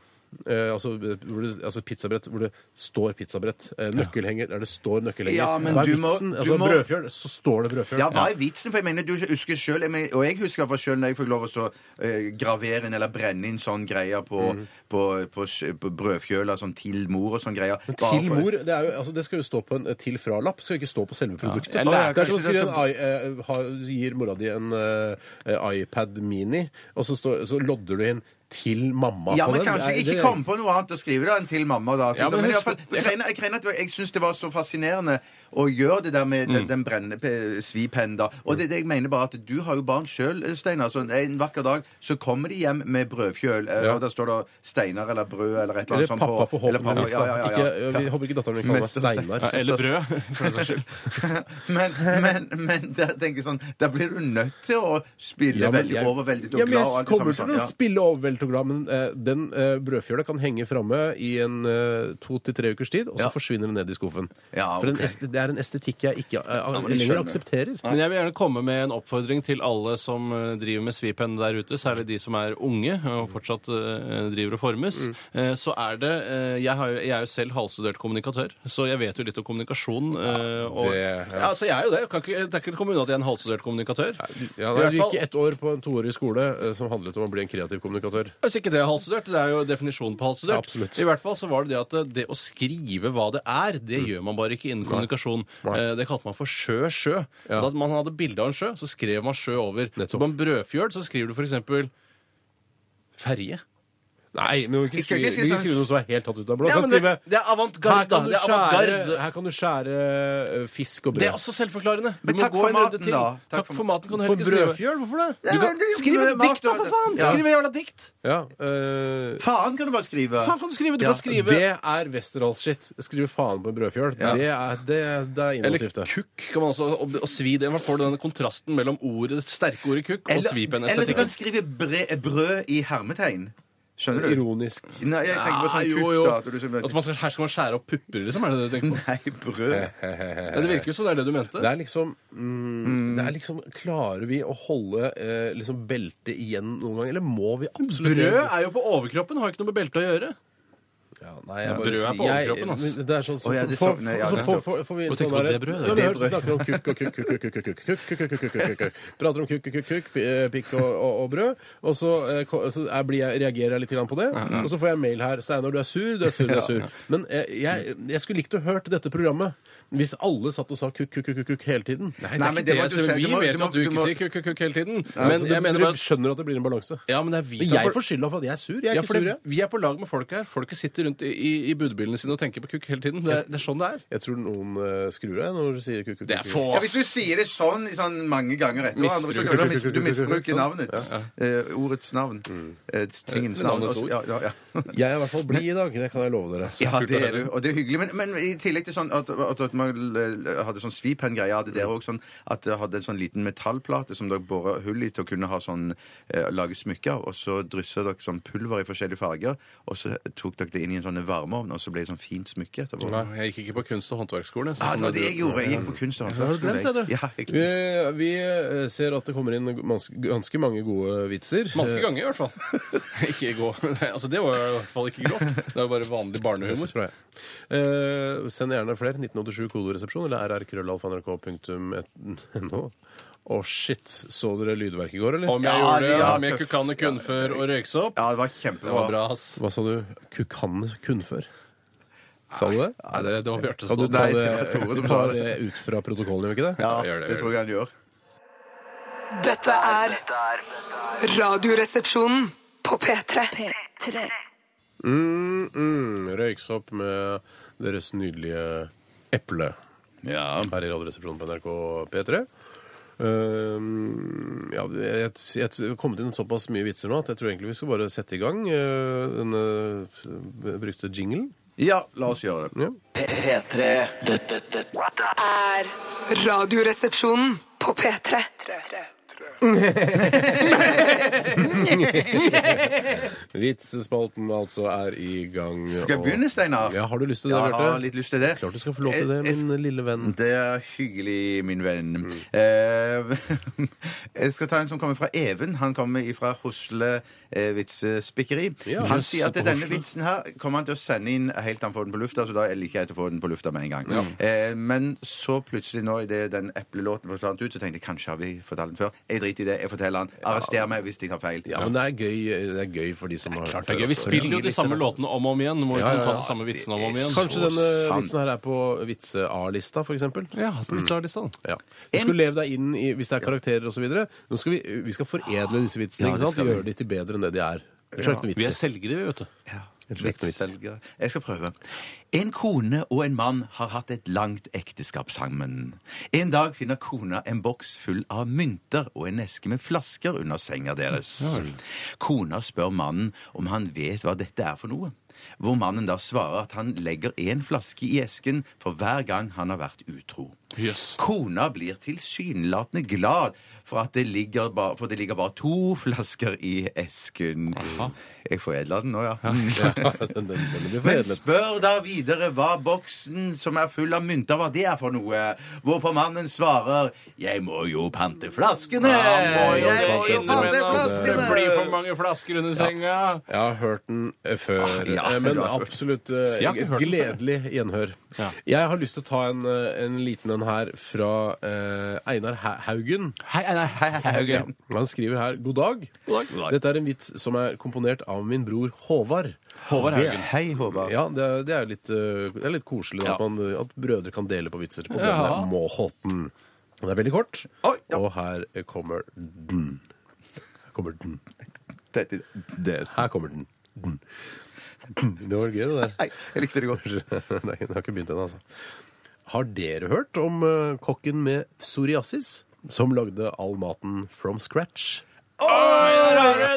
C: Eh, altså, eh, hvor det, altså pizzabrett hvor det står pizzabrett. Eh, nøkkelhenger der det står nøkkelhenger.
D: Ja, men
C: Hva er
D: du må-
C: vitsen?
D: du
C: altså,
D: må-
C: brødfjøl, så står det brødfjøl.
D: Ja, hva er vitsen? For jeg mener, du husker selv, jeg mener- og jeg husker for selv når jeg fikk lov å så, eh, gravere inn eller brenne inn sånn greier på,
E: Mm.
D: på, på, s- på brødfjøla, sånn til mor og sånn greier. Bare
C: Til
D: for-
C: mor, det, er jo, altså, det skal jo stå på en til-fra-lapp. Det skal jo ikke stå på selve produktet.
E: jeg lærte-
C: det er som
D: kanskje
C: å skrive
D: det
C: en i- eh, ha, gir mora di en eh, eh, iPad Mini, og så, står, så lodder du inn 'til mamma'
D: Ja,
C: på
D: men
C: den.
D: kanskje
C: Nei,
D: jeg ikke
C: det-
D: kom på noe annet å skrive da enn til mamma. da.
E: Ja, men
D: men i hvert
E: husk-
D: fall, jeg regner, jeg, regner at det var- jeg syns det var så fascinerende å gjøre det der med den,
C: Mm.
D: den brennende pe- svipennen. da. Og det, er det jeg mener bare at du har jo barn sjøl, Steinar. Så en vakker dag så kommer de hjem med brødfjøl, eh,
C: Ja.
D: og der står det Steinar eller brød eller et eller
C: Eller
D: annet sånt
C: pappa,
D: på. Eller pappa,
C: forhåpentligvis.
D: ja, ja, ja, ja.
C: Ikke, eh, vi håper ikke datteren min kaller meg
D: Mester Stein-
C: Steinar.
E: Ja, eller brød, for den saks skyld.
D: *laughs* men, men, men der tenker jeg sånn, der blir du nødt til å spille
C: Ja, men
D: veldig
C: jeg-
D: overveldet og
C: ja, men
D: glad. og
C: jeg
D: alt det
C: kommer
D: samme
C: til å
D: sånn, ja.
C: spille overveldet og glad, men eh, den eh, brødfjøla kan henge framme i en eh, to til tre ukers tid, og
D: Ja.
C: så forsvinner den ned i skuffen.
D: Ja,
C: For en
D: ok.
C: est- det er en estetikk jeg ikke eh,
D: men jeg
C: lenger
D: skjønner.
C: aksepterer.
E: Men jeg vil gjerne komme med en oppfordring til alle som eh, driver med svipenn der ute, særlig de som er unge og fortsatt eh, driver og formes. Eh, Så er det eh, jeg, har, jo- jeg er jo selv halvstudert kommunikatør, så jeg vet jo litt om kommunikasjon. eh, Og,
C: det- ja.
E: ja, altså, jeg er jo det. Jeg Kan ikke, det er ikke til kommune at jeg er en halvstudert kommunikatør.
C: Ja,
E: I
C: nei,
E: hvert
C: du
E: fall-
C: gikk ett år på en toårig skole eh, som handlet om å bli en kreativ kommunikatør.
E: Hvis ikke det er halvstudert, det er jo definisjonen på halvstudert.
C: Ja, absolutt.
E: I hvert fall så var det det at eh, det å skrive hva det er, det gjør man bare ikke innen
C: Mm.
E: kommunikasjon.
C: Nei.
E: Eh, Det kalte man for sjø sjø.
C: Ja.
E: Da man hadde bilde av en sjø, så skrev man sjø over.
C: Nettopp.
E: Så på en brødfjøl så skriver du for eksempel ferje.
C: Nei, men vi må ikke
D: Jeg skal
C: skrive,
D: ikke sånn-
C: vi må ikke
D: skrive
C: skrive noe som er helt tatt ut av blå.
E: Ja,
C: kan
E: men
C: skrive,
E: det- det er avantgarde,
C: her kan
E: da.
C: du
E: Det er avantgarde.
C: skjære- Her kan du skjære eh, fisk og
E: Det er
C: brød.
E: også selvforklarende. Du
D: Men
E: må
D: takk
E: gå
D: for
E: en runde
D: maten,
E: til.
D: da.
E: Takk,
D: Takk for
E: for maten. Kan du
C: På
E: heller
C: en
E: ikke skrive.
C: brødfjøl? Hvorfor det?
D: Ja, men det-
E: Skriv et
D: mat,
E: dikt, da,
D: da.
E: for faen!
D: Ja.
E: Skriv et jævla dikt!
C: Ja, eh,
D: Faen kan du bare skrive.
E: Faen, kan du skrive? Du
D: Ja,
E: kan skrive
C: Det er Westerdals-shit. Skrive faen på en brødfjøl. Det er, det, det er
E: Eller
C: innovativt, det.
E: kukk kan man også og, og svi det. Man får denne kontrasten mellom ordet, det sterke ordet kukk og
D: Eller, eller du kan
E: svipenestetikken.
D: skrive bre, brød i hermetegn. Skjønner du?
C: Ironisk.
D: Nei, jeg tenker på
E: Ja,
D: sånn
E: Ah, jo,
D: kutt,
E: jo.
D: da. at du som-
E: Altså, man skal, her skal man skjære opp pupper, liksom? Er det det du tenker på?
D: *laughs* Nei, brød.
E: Ja, det virker jo som det er det du mente.
C: Det er liksom, mm, det er liksom Klarer vi å holde eh, liksom beltet igjen noen gang, eller må vi absolutt
E: Brød er jo på overkroppen, har jo ikke noe med beltet å gjøre.
C: ja, nei, jeg bare,
E: Brød er på
C: sier-
E: overkroppen, ass.
C: jeg- Det er sånn
D: Å, ja, det
C: for-
D: sovner, ja,
C: for-
D: det-
C: for- for- for vi
E: Hvor tenker du
C: sånn
E: på det brødet?
C: der- Ja,
D: Det
C: vi hører-
D: brødet.
C: snakker om kukk og kukk og kukk og kukk og kukk og kukk og kukk og kukk og kukk. Prater om kukk og kukk, kukk, pi- eh, pikk og, og, og brød. Og så, eh, ko- så er, blir jeg, reagerer jeg litt grann på det. Og så får jeg mail her. Steinar, du er sur, du er sur, du er sur. Men eh, jeg, jeg skulle likt å hørt dette programmet hvis alle satt og sa kukk, kukk, kukk, kukk hele tiden.
E: Nei,
D: Nei, men det må du si.
E: Vi
D: Du må-
E: vet
D: du
E: jo
D: må-
E: at du
D: du
E: ikke
D: må- altså,
E: sier kukk-kukk hele tiden.
C: Men
E: Men jeg mener
C: Altså, dere
E: bare
C: skjønner at det blir en balanse.
E: Ja, men det er vi
C: Men
E: som
C: jeg
E: får-
C: får skylda for at jeg er sur. Jeg er
E: ja, for
C: ikke sur,
E: det,
C: jeg.
E: vi er på lag med folket her. Folket sitter rundt i, i, i budbilene sine og tenker på kukk hele tiden. Det, er- det er sånn det er.
C: Jeg tror noen eh, skrur deg når du sier kukk, kukk, kukk.
D: Ja, hvis du sier det sånn, sånn mange ganger etter hverandre, så
E: Misbruk.
D: kan du, mis, du misbruker navnet. Eh, ordets navn. Eh, tingens navn.
E: Mm. Navnets ord.
D: Ja, ja, ja.
C: Jeg er i hvert fall blid i dag, det kan jeg love dere.
D: ja, det er du. Og det er hyggelig. Men, men i tillegg til sånn at, at, at man eh, hadde sånn svipenn-greie, hadde dere òg sånn at dere hadde en sånn liten metallplate som dere bora hull i til å kunne ha sånn eh, lage smykker, og så dryssa dere sånn pulver i forskjellige farger, og så tok dere det inn i en sånn varmeovn, og så ble det sånn fint smykke etterpå.
E: Nei, jeg gikk ikke på kunst- og håndverksskolen. jeg. Så
D: Ja, det
E: sånn
D: var det jeg gjorde. Jeg gikk på kunst og håndverksskole.
E: Har du glemt det, du?
D: Ja, jeg
C: Vi, vi eh, ser at det kommer inn gans- ganske mange gode vitser. Eh,
E: Ganske ganger, i hvert fall. *laughs* ikke gå. Nei, altså, det var i hvert fall ikke grovt. Det var bare vanlig barnehumor.
C: Humor. Eh, send gjerne flere. 1987 kodoresepsjon eller rrkrøllalfa.nrk.no. Å, shit. Så dere lydverket i går, eller?
E: Om
D: Ja,
E: jeg gjorde det,
D: ja,
E: om jeg
D: tøft.
E: kukanne kun før og røyksopp.
D: Ja, det var
E: Det var
D: kjempebra.
E: bra, ass.
C: Hva sa du? Kukanne kunnfør? Sa du det?
E: Nei, det, det var Bjarte
C: Kan
E: som
C: du ta
D: Nei,
C: det,
D: det var Tore som
C: du
D: sa
C: tar
D: det.
C: det ut fra protokollen, gjør vi ikke det?
D: Ja, det
E: gjør det, gjør
D: tror jeg han gjør.
A: Dette er Radioresepsjonen på P3.
F: P3.
C: Mm, mm, røyksopp med deres nydelige eple
E: Ja.
C: her i Radioresepsjonen på NRK P3. Ehm, ja, jeg, jeg, jeg har kommet inn såpass mye vitser nå at jeg tror egentlig vi skal bare sette i gang eh, denne eh, brukte jinglen.
D: Ja, la oss gjøre det.
C: Ja.
B: P3 Dette dette
A: Er Radioresepsjonen på P3.
C: Vitsespalten altså er i gang.
D: Skal jeg
C: og-
D: begynne, Steinar?
C: Ja, har du lyst til det,
D: Ja, jeg
C: Bjarte?
D: har litt lyst til det.
C: Klart du skal få lov til det,
D: Jeg- jeg-
C: min lille venn.
D: Det er hyggelig, min venn. Eh, *laughs* jeg skal ta en som kommer fra Even. Han kommer fra Hosle eh, vitsespikkeri.
C: Ja.
D: han
E: Jøss,
D: sier at
E: på
D: denne
E: Hosle.
D: vitsen her kommer han til å sende inn helt til han får den på lufta, så da liker jeg å få den på lufta med en gang. Eh, men så plutselig nå, idet den eplelåten forsvant ut, så tenkte jeg kanskje har vi fortalt den før. Jeg driter i det, jeg forteller han. Arrester meg hvis jeg tar feil.
C: Ja, men det er gøy, det er gøy for de som har
E: Klart det er gøy. Vi spiller jo de samme låtene om og om igjen. Må jo
C: Ja, ja,
E: kunne ta
C: ja.
E: de samme vitsene om og om igjen.
C: Kanskje denne
D: sant.
C: vitsen her er på vitse-A-lista, for eksempel?
E: Ja, litt av disse, da.
C: Ja. Du
D: En-
C: skulle leve deg inn i, hvis det er karakterer osv. Nå skal vi, vi skal foredle disse vitsene
D: Ja,
C: ikke
D: det
C: sant?
D: skal
C: og
D: vi.
C: gjøre de til bedre enn det de er. Det er ikke noen
E: Vi er
C: vitser.
E: selgere, vi, vet du.
D: Ja.
C: slett noe vits.
D: Vettselgere. Jeg skal prøve. En kone og en mann har hatt et langt ekteskap sammen. En dag finner kona en boks full av mynter og en eske med flasker under senga deres. Kona spør mannen om han vet hva dette er for noe. Hvor mannen da svarer at han legger én flaske i esken for hver gang han har vært utro.
E: Jøss.
D: Kona blir tilsynelatende glad for at det ligger bare, for det ligger bare to flasker i esken. Jeg foredla den nå, ja.
C: den, den, den blir
D: Men
C: foredlet.
D: spør da videre hva boksen som er full av mynter, hva det er for noe. Hvorpå mannen svarer 'Jeg må jo pante flaskene'. Jeg må jo
C: innrømme
D: pante
C: at det
D: flaskene.
E: blir for mange flasker under senga.
C: Jeg har hørt den eh, før,
D: ja,
C: eh, men
D: du har hørt
C: absolutt eh,
E: Jeg har ikke hørt den
C: gledelig gjenhør.
E: Ja.
C: Jeg har lyst til å ta en, eh, en liten en her fra eh, Einar Ha- Haugen.
E: Hei, nei, hei, hei, hei,
C: Ja. Han skriver her God dag. Dette er en vits som er komponert av min bror Håvard.
E: Håvard
C: Det-
E: Haugen.
D: Hei, Håvard.
C: Ja, det er, det er, litt, eh, det er litt koselig da,
E: Ja.
C: at, man, eh, at brødre kan dele på vitser på
E: Ja.
C: denne måten. Den er veldig kort,
D: Oi, ja.
C: og her kommer den. Her kommer den.
D: Dette- det-
C: Her kommer den. den. Det var gøy, det der.
D: Hei, jeg likte det godt.
C: *laughs* Nei, den har ikke begynt ennå, altså. Har dere hørt om eh, kokken med psoriasis, som lagde all maten from scratch?
D: Oi,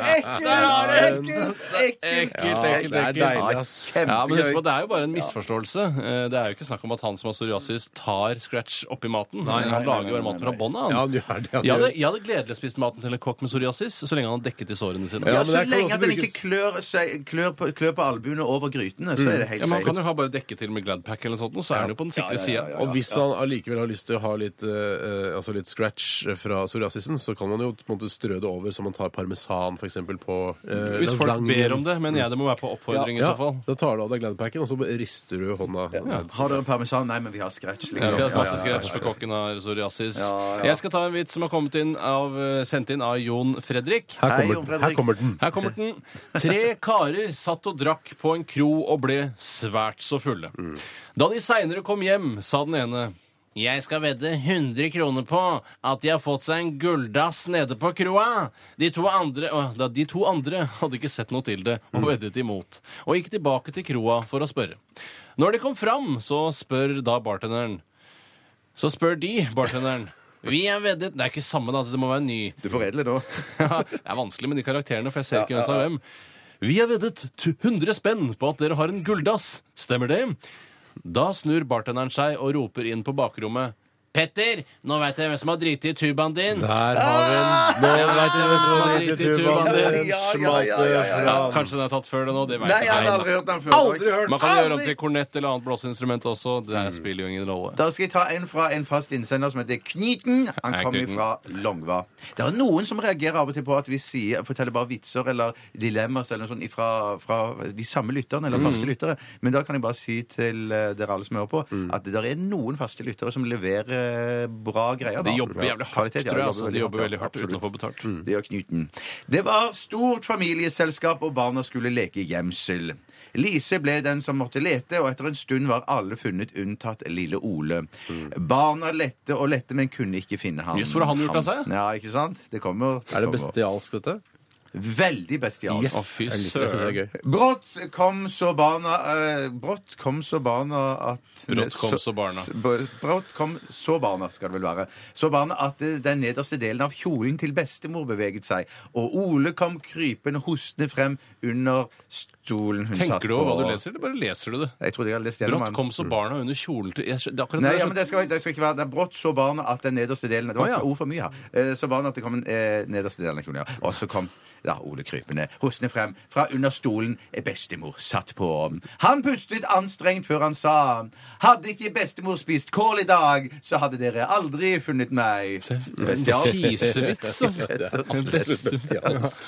E: Ekkelt,
C: Ja,
E: ekkelt,
C: det er
E: ekkelt.
C: deilig, ass.
E: Ja, men husk på, Det er jo bare en misforståelse. Eh, Det er jo ikke snakk om at han som har psoriasis, tar scratch oppi maten. han lager jo bare maten fra bånn
C: Ja,
E: av.
C: du er det. ja, du-
E: Jeg hadde, jeg hadde gledelig spist maten til en kokk med psoriasis så lenge han hadde dekket i sårene sine.
C: Ja,
E: Ja,
C: men
D: Så
C: det kan
D: lenge
C: også
D: den ikke
C: brukes-
D: klør, seg- klør, på, klør på albuene over grytene, så er det helt
E: men Han
D: feil.
E: kan jo ha bare dekke til med Gladpack eller noe sånt, og så er han jo på den sikre sida.
C: Og hvis han allikevel har lyst til å ha litt, eh, altså litt scratch fra psoriasisen, så kan man jo på en måte strø det over som man tar parmesan for eksempel på eh,
E: Hvis folk
C: lasagne.
E: ber om det, men jeg det må være på oppfordring i
C: ja,
E: så fall.
C: Da tar du av deg Gladpacken, og så bare rister du hånda.
D: Har dere parmesan? Nei, men vi har scratch.
E: Ja,
D: Liksom.
E: vi har hatt masse
D: Ja, ja, ja.
E: scratch for kokken har psoriasis.
D: Ja, ja.
E: Jeg skal ta en vits som har kommet inn av, eh, sendt inn av Jon Fredrik.
C: Her,
D: Hei,
C: kommer,
D: Jon
C: den.
D: Fredrik.
C: her kommer den.
E: Her kommer den. Tre karer satt og drakk på en kro og ble svært så fulle. Da de seinere kom hjem, sa den ene jeg skal vedde 100 kroner på at de har fått seg en gulldass nede på kroa. De to andre, å, da de to andre hadde ikke sett noe til det og veddet imot, og gikk tilbake til kroa for å spørre. Når de kom fram, så spør da bartenderen Så spør de bartenderen Vi har veddet Det er ikke samme, da, så det må være en ny.
D: Du foredler da.
E: Ja, det er vanskelig med de karakterene, for jeg ser ikke hvem som er hvem. Vi har veddet tu- 100 spenn på at dere har en gulldass. Stemmer det? Da snur bartenderen seg og roper inn på bakrommet. Petter, nå veit jeg hvem som har driti i tubaen din.
C: Der har vi den. Nå
E: Ja,
C: vet du hvem som har
E: det er
C: dritt i
E: riktig
C: tubaen
E: tubaen
C: din.
D: din. Ja, ja,
C: Smalt,
D: ja, ja, ja,
E: Ja,
C: eh, fram.
E: kanskje den er tatt før det nå. Det
D: Nei,
E: vet
D: jeg har aldri
E: jeg.
D: hørt Mm. den før.
E: Man kan gjøre om til kornett eller annet blåseinstrument også. Det der spiller jo ingen rolle.
D: Da skal jeg ta en fra en fast innsender som heter Kniten. Han
E: Hei,
D: kommer
E: Knuten.
D: fra Longva. Det er noen som reagerer av og til på at vi sier, forteller bare vitser eller dilemmas eller noe sånt fra, fra de samme lytterne
E: Mm.
D: eller faste lyttere. Men da kan jeg bare si til eh, dere alle som hører på,
E: Mm.
D: at det der er noen faste lyttere som leverer eh, bra greier. da.
E: De jobber jævlig hardt,
D: Kvalitet, ja,
E: tror jeg. Altså. De jobber veldig hardt
D: ja,
E: uten
D: absolutt. Mm.
E: å få betalt.
D: Det gjør Knuten. Det var stort familieselskap, og barna skulle leke gjemsel. Lise ble den som måtte lete, og etter en stund var alle funnet unntatt lille Ole. Barna lette og lette, men kunne ikke finne ham.
E: Jøss, hvor har han gjort av seg?
D: Ja, ikke sant? Det kommer.
C: Er det
D: kommer.
C: bestialsk, dette?
D: Veldig bestialsk.
E: Å, fy
C: Jeg liker det. Jeg synes det er
E: søren.
C: gøy.
D: Brått kom så barna eh, Brått kom så barna at
E: Brått kom så barna.
D: s- br- Brått kom så barna, skal det vel være. Så barna at eh, den nederste delen av kjolen til bestemor beveget seg, og Ole kom krypende hostende frem under stolen hun satt på.
E: Tenker du over hva du leser, eller bare leser du det?
D: Jeg trodde jeg hadde lest gjennom
E: Brått
D: den.
E: kom så barna under kjolen til jeg, skjø- det er akkurat det
D: Nei,
E: jeg
D: ja, men det skal, det skal ikke være det er brått så barna at den nederste delen Det var
E: Å, ja.
D: ikke ord for mye her. Eh, Så barna at det kom en eh, nederste delen av kjolen, ja. Og så kom ja, Ole krypende, hostende frem fra under stolen eh, bestemor satt på. Han pustet anstrengt før han sa Hadde ikke bestemor spist kål i dag, så hadde dere aldri funnet meg.
E: Fisevits, altså.
C: Det er
E: Den beste-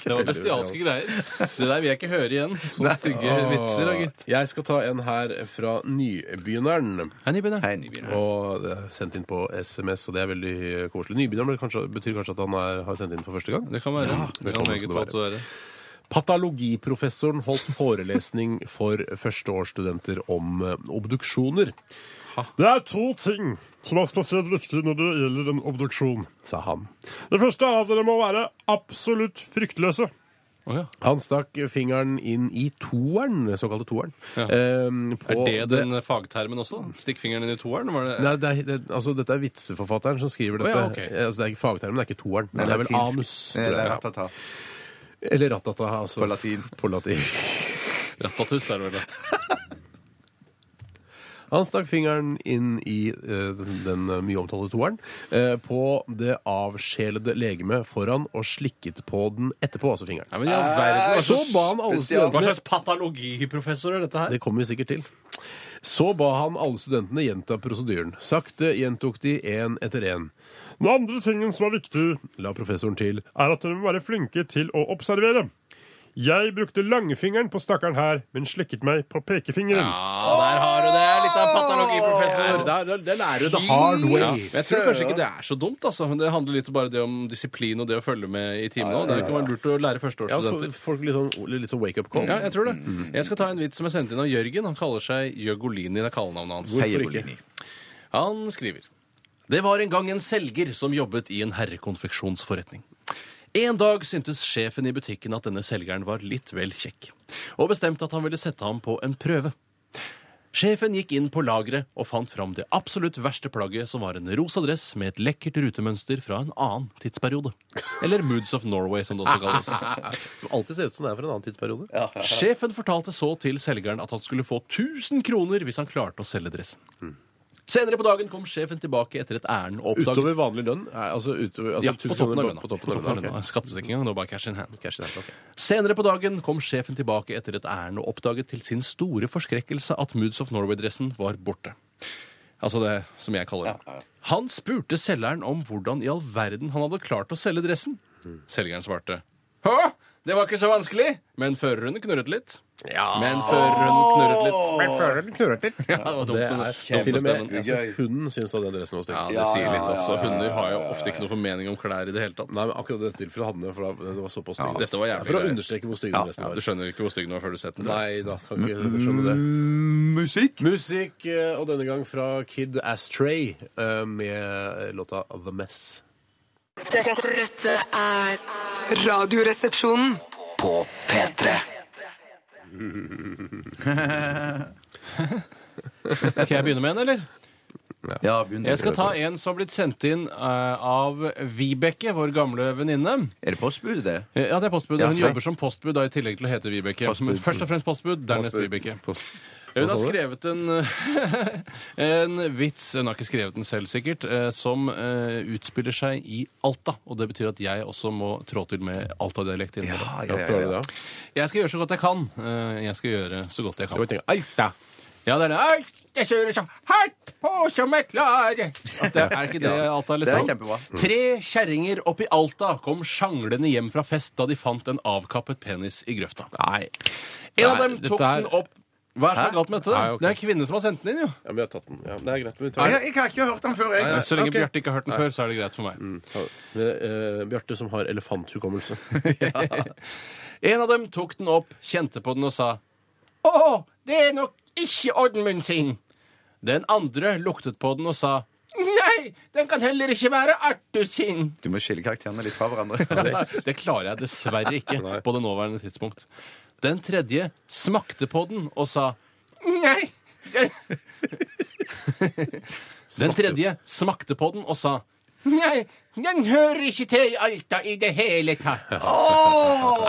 E: Det var bestialske greier. Det der vil jeg ikke høre igjen. Så stygge vitser, da, gitt.
C: Jeg skal ta en her fra nybegynneren.
D: Hei, nybegynner.
C: Og det er sendt inn på SMS, og det er veldig koselig. Nybegynner men det kanskje, betyr kanskje at han er, har sendt inn for første gang?
E: Det kan være.
C: det
E: det
C: kan
E: kan
C: det
E: meget
C: være.
E: godt være.
C: Patologiprofessoren holdt forelesning for førsteårsstudenter om eh, obduksjoner.
F: Det er to ting som er spesielt viktig når det gjelder en obduksjon.
C: Sa han.
F: Det første er at dere må være absolutt fryktløse.
E: Å, ja.
C: Han stakk fingeren inn i toeren, den såkalte toeren. eh,
E: Er
C: på
E: det den fagtermen også? Stikk fingeren inn i toeren? Var det...
C: Nei, det er, det, altså, dette er vitseforfatteren som skriver dette.
E: ja, ok.
C: altså, det er ikke fagtermen, det er ikke toeren. Men det er vel
D: latinsk.
C: anus.
E: Eh,
C: tror
D: Eller
C: jeg.
D: ratata.
C: Eller ratata. Altså,
D: På
C: *laughs*
D: latin.
C: På latin.
E: Rattatus er det vel. det.
C: Han stakk fingeren inn i eh, den, den mye omtalte toeren eh, på det avsjelede legemet foran og slikket på den etterpå, altså fingeren.
E: Nei, men i all verden.
C: Så ba han alle
D: spesial-
E: Hva
C: studentene
E: slags patologiprofessor er dette her?
C: Det kommer vi sikkert til. Så ba han alle studentene gjenta prosedyren. Sakte gjentok de én etter én.
F: Den andre tingen som er viktig,
C: La professoren til.
F: er at dere må være flinke til å observere. Jeg brukte langfingeren på stakkaren her, men slikket meg på pekefingeren.
E: Ja, der har du det! Litt av en patologiprofessor.
C: det lærer du the hard
E: Ja. men Jeg tror kanskje ikke det er så dumt. Altså. Men Det handler litt bare det om disiplin og det å følge med i timen. også. Det kan være lurt å lære
C: Ja,
E: førsteårsstudenter.
C: for, folk litt sånn, litt sånn wake up call.
E: Ja, jeg tror det. Jeg skal ta en vits som er sendt inn av Jørgen. Han kaller seg Jørgolini. Det er kallenavnet hans.
D: Sier
C: ikke?
D: Bolini.
E: Han skriver Det var en gang en selger som jobbet i en herrekonfeksjonsforretning. En dag syntes sjefen i butikken at denne selgeren var litt vel kjekk, og bestemte at han ville sette ham på en prøve. Sjefen gikk inn på lageret og fant fram det absolutt verste plagget, som var en rosa dress med et lekkert rutemønster fra en annen tidsperiode. Eller Moods of Norway, som det også *laughs* kalles.
C: Som alltid ser ut som det er fra en annen tidsperiode.
E: Sjefen fortalte så til selgeren at han skulle få 1000 kroner hvis han klarte å selge dressen. Senere på dagen kom sjefen tilbake etter et ærend og oppdaget
C: Utover vanlig lønn? Nei, Altså, utover, altså
E: ja, på
C: 1000
E: toppen av
C: kroner
E: lønna.
C: på toppen av lønna. ok.
E: Skattesekkingen, nå bare cash in hand.
C: Cash in hand, ok.
E: Senere på dagen kom sjefen tilbake etter et ærend og oppdaget til sin store forskrekkelse at Moods of Norway-dressen var borte. Altså det som jeg kaller den. Han spurte selgeren om hvordan i all verden han hadde klart å selge dressen. Selgeren svarte Hå, det var ikke så vanskelig, men førerhunden knurret litt. Men førerhunden knurret litt.
F: Jeg føler den knurret litt.
E: Ja, det var dumt,
C: Det
E: den
C: er
E: der
C: til og med
E: dobbeltstemmen.
C: altså, Hunden syns at den dressen var stygg.
E: Ja, det sier litt, altså. Hunder har jo ofte ikke noe formening om klær i det hele tatt.
C: Nei, men akkurat i dette tilfellet hadde den det, for da- den var såpass stygg.
E: Ja, dette var jævlig
C: for å
E: greier.
C: understreke hvor stygg den dressen
E: Ja,
C: var.
E: du skjønner Mm, ikke hvor stygg den var før du har sett den.
C: Nei da, kan ikke skjønne det.
D: Musikk?
C: Mm, Musikk, eh, og denne gang fra Kid Astray eh, med låta The Mess.
A: Dette, dette er Radioresepsjonen.
B: På P3.
E: Kan jeg begynne med en, eller?
D: Ja, begynn.
E: Jeg skal ta en som har blitt sendt inn eh, av Vibeke, vår gamle venninne.
D: Er det postbudet, det?
E: Eh, Ja, det er postbud.
D: Ja,
E: Hun
D: hei.
E: jobber som postbud da, i tillegg til å hete Vibeke.
D: Postbud.
E: Men Først og fremst postbud, dernest Vibeke. Eh, Hun har
C: sa du?
E: skrevet en, en *laughs* vits Hun har ikke skrevet den selv, sikkert. eh, Som eh, utspiller seg i Alta. Og det betyr at jeg også må trå til med Alta-dialekt. innimellom.
D: ja,
C: Klarer du det?
E: Jeg skal gjøre så godt jeg kan. Eh, Jeg skal gjøre så godt jeg kan.
C: Jeg tenker, Alta!
E: Ja, det er det. Alt jeg kjører så hardt på som jeg klarer. At Det
C: *laughs*
E: er ikke det
D: det
E: Alta,
D: er
E: liksom?
D: kjempebra.
C: Mm.
E: Tre kjerringer oppi Alta kom sjanglende hjem fra fest da de fant en avkappet penis i grøfta.
C: Nei.
E: En
C: Nei,
E: av dem tok
C: dette er-
E: den opp Hva er så
D: Hæ?
E: galt med dette? da?
C: Nei, ok.
E: Det er en kvinne som har sendt den inn, jo.
C: Ja, men jeg har tatt den. Ja, det er greit. Men vi
D: Nei,
C: tar den.
D: jeg har ikke hørt den før, jeg.
E: Men Så lenge
C: ok. Mm.
E: Bjarte ikke har hørt den før, så er det greit for meg.
C: Ja, men, eh, Bjarte som har
E: *laughs*
C: elefanthukommelse.
E: En av dem tok den opp, kjente på den og sa Å, det er nok ikke Oddmund sin. Den andre luktet på den og sa Nei, den kan heller ikke være Arthur sin.
D: Du må skille karakterene litt fra *laughs* hverandre.
E: Det klarer jeg dessverre ikke på det nåværende tidspunkt. Den tredje smakte på den og sa *laughs* Nei! Den, den tredje smakte på den og sa Nei, den hører ikke til i Alta i det hele tatt. Ah,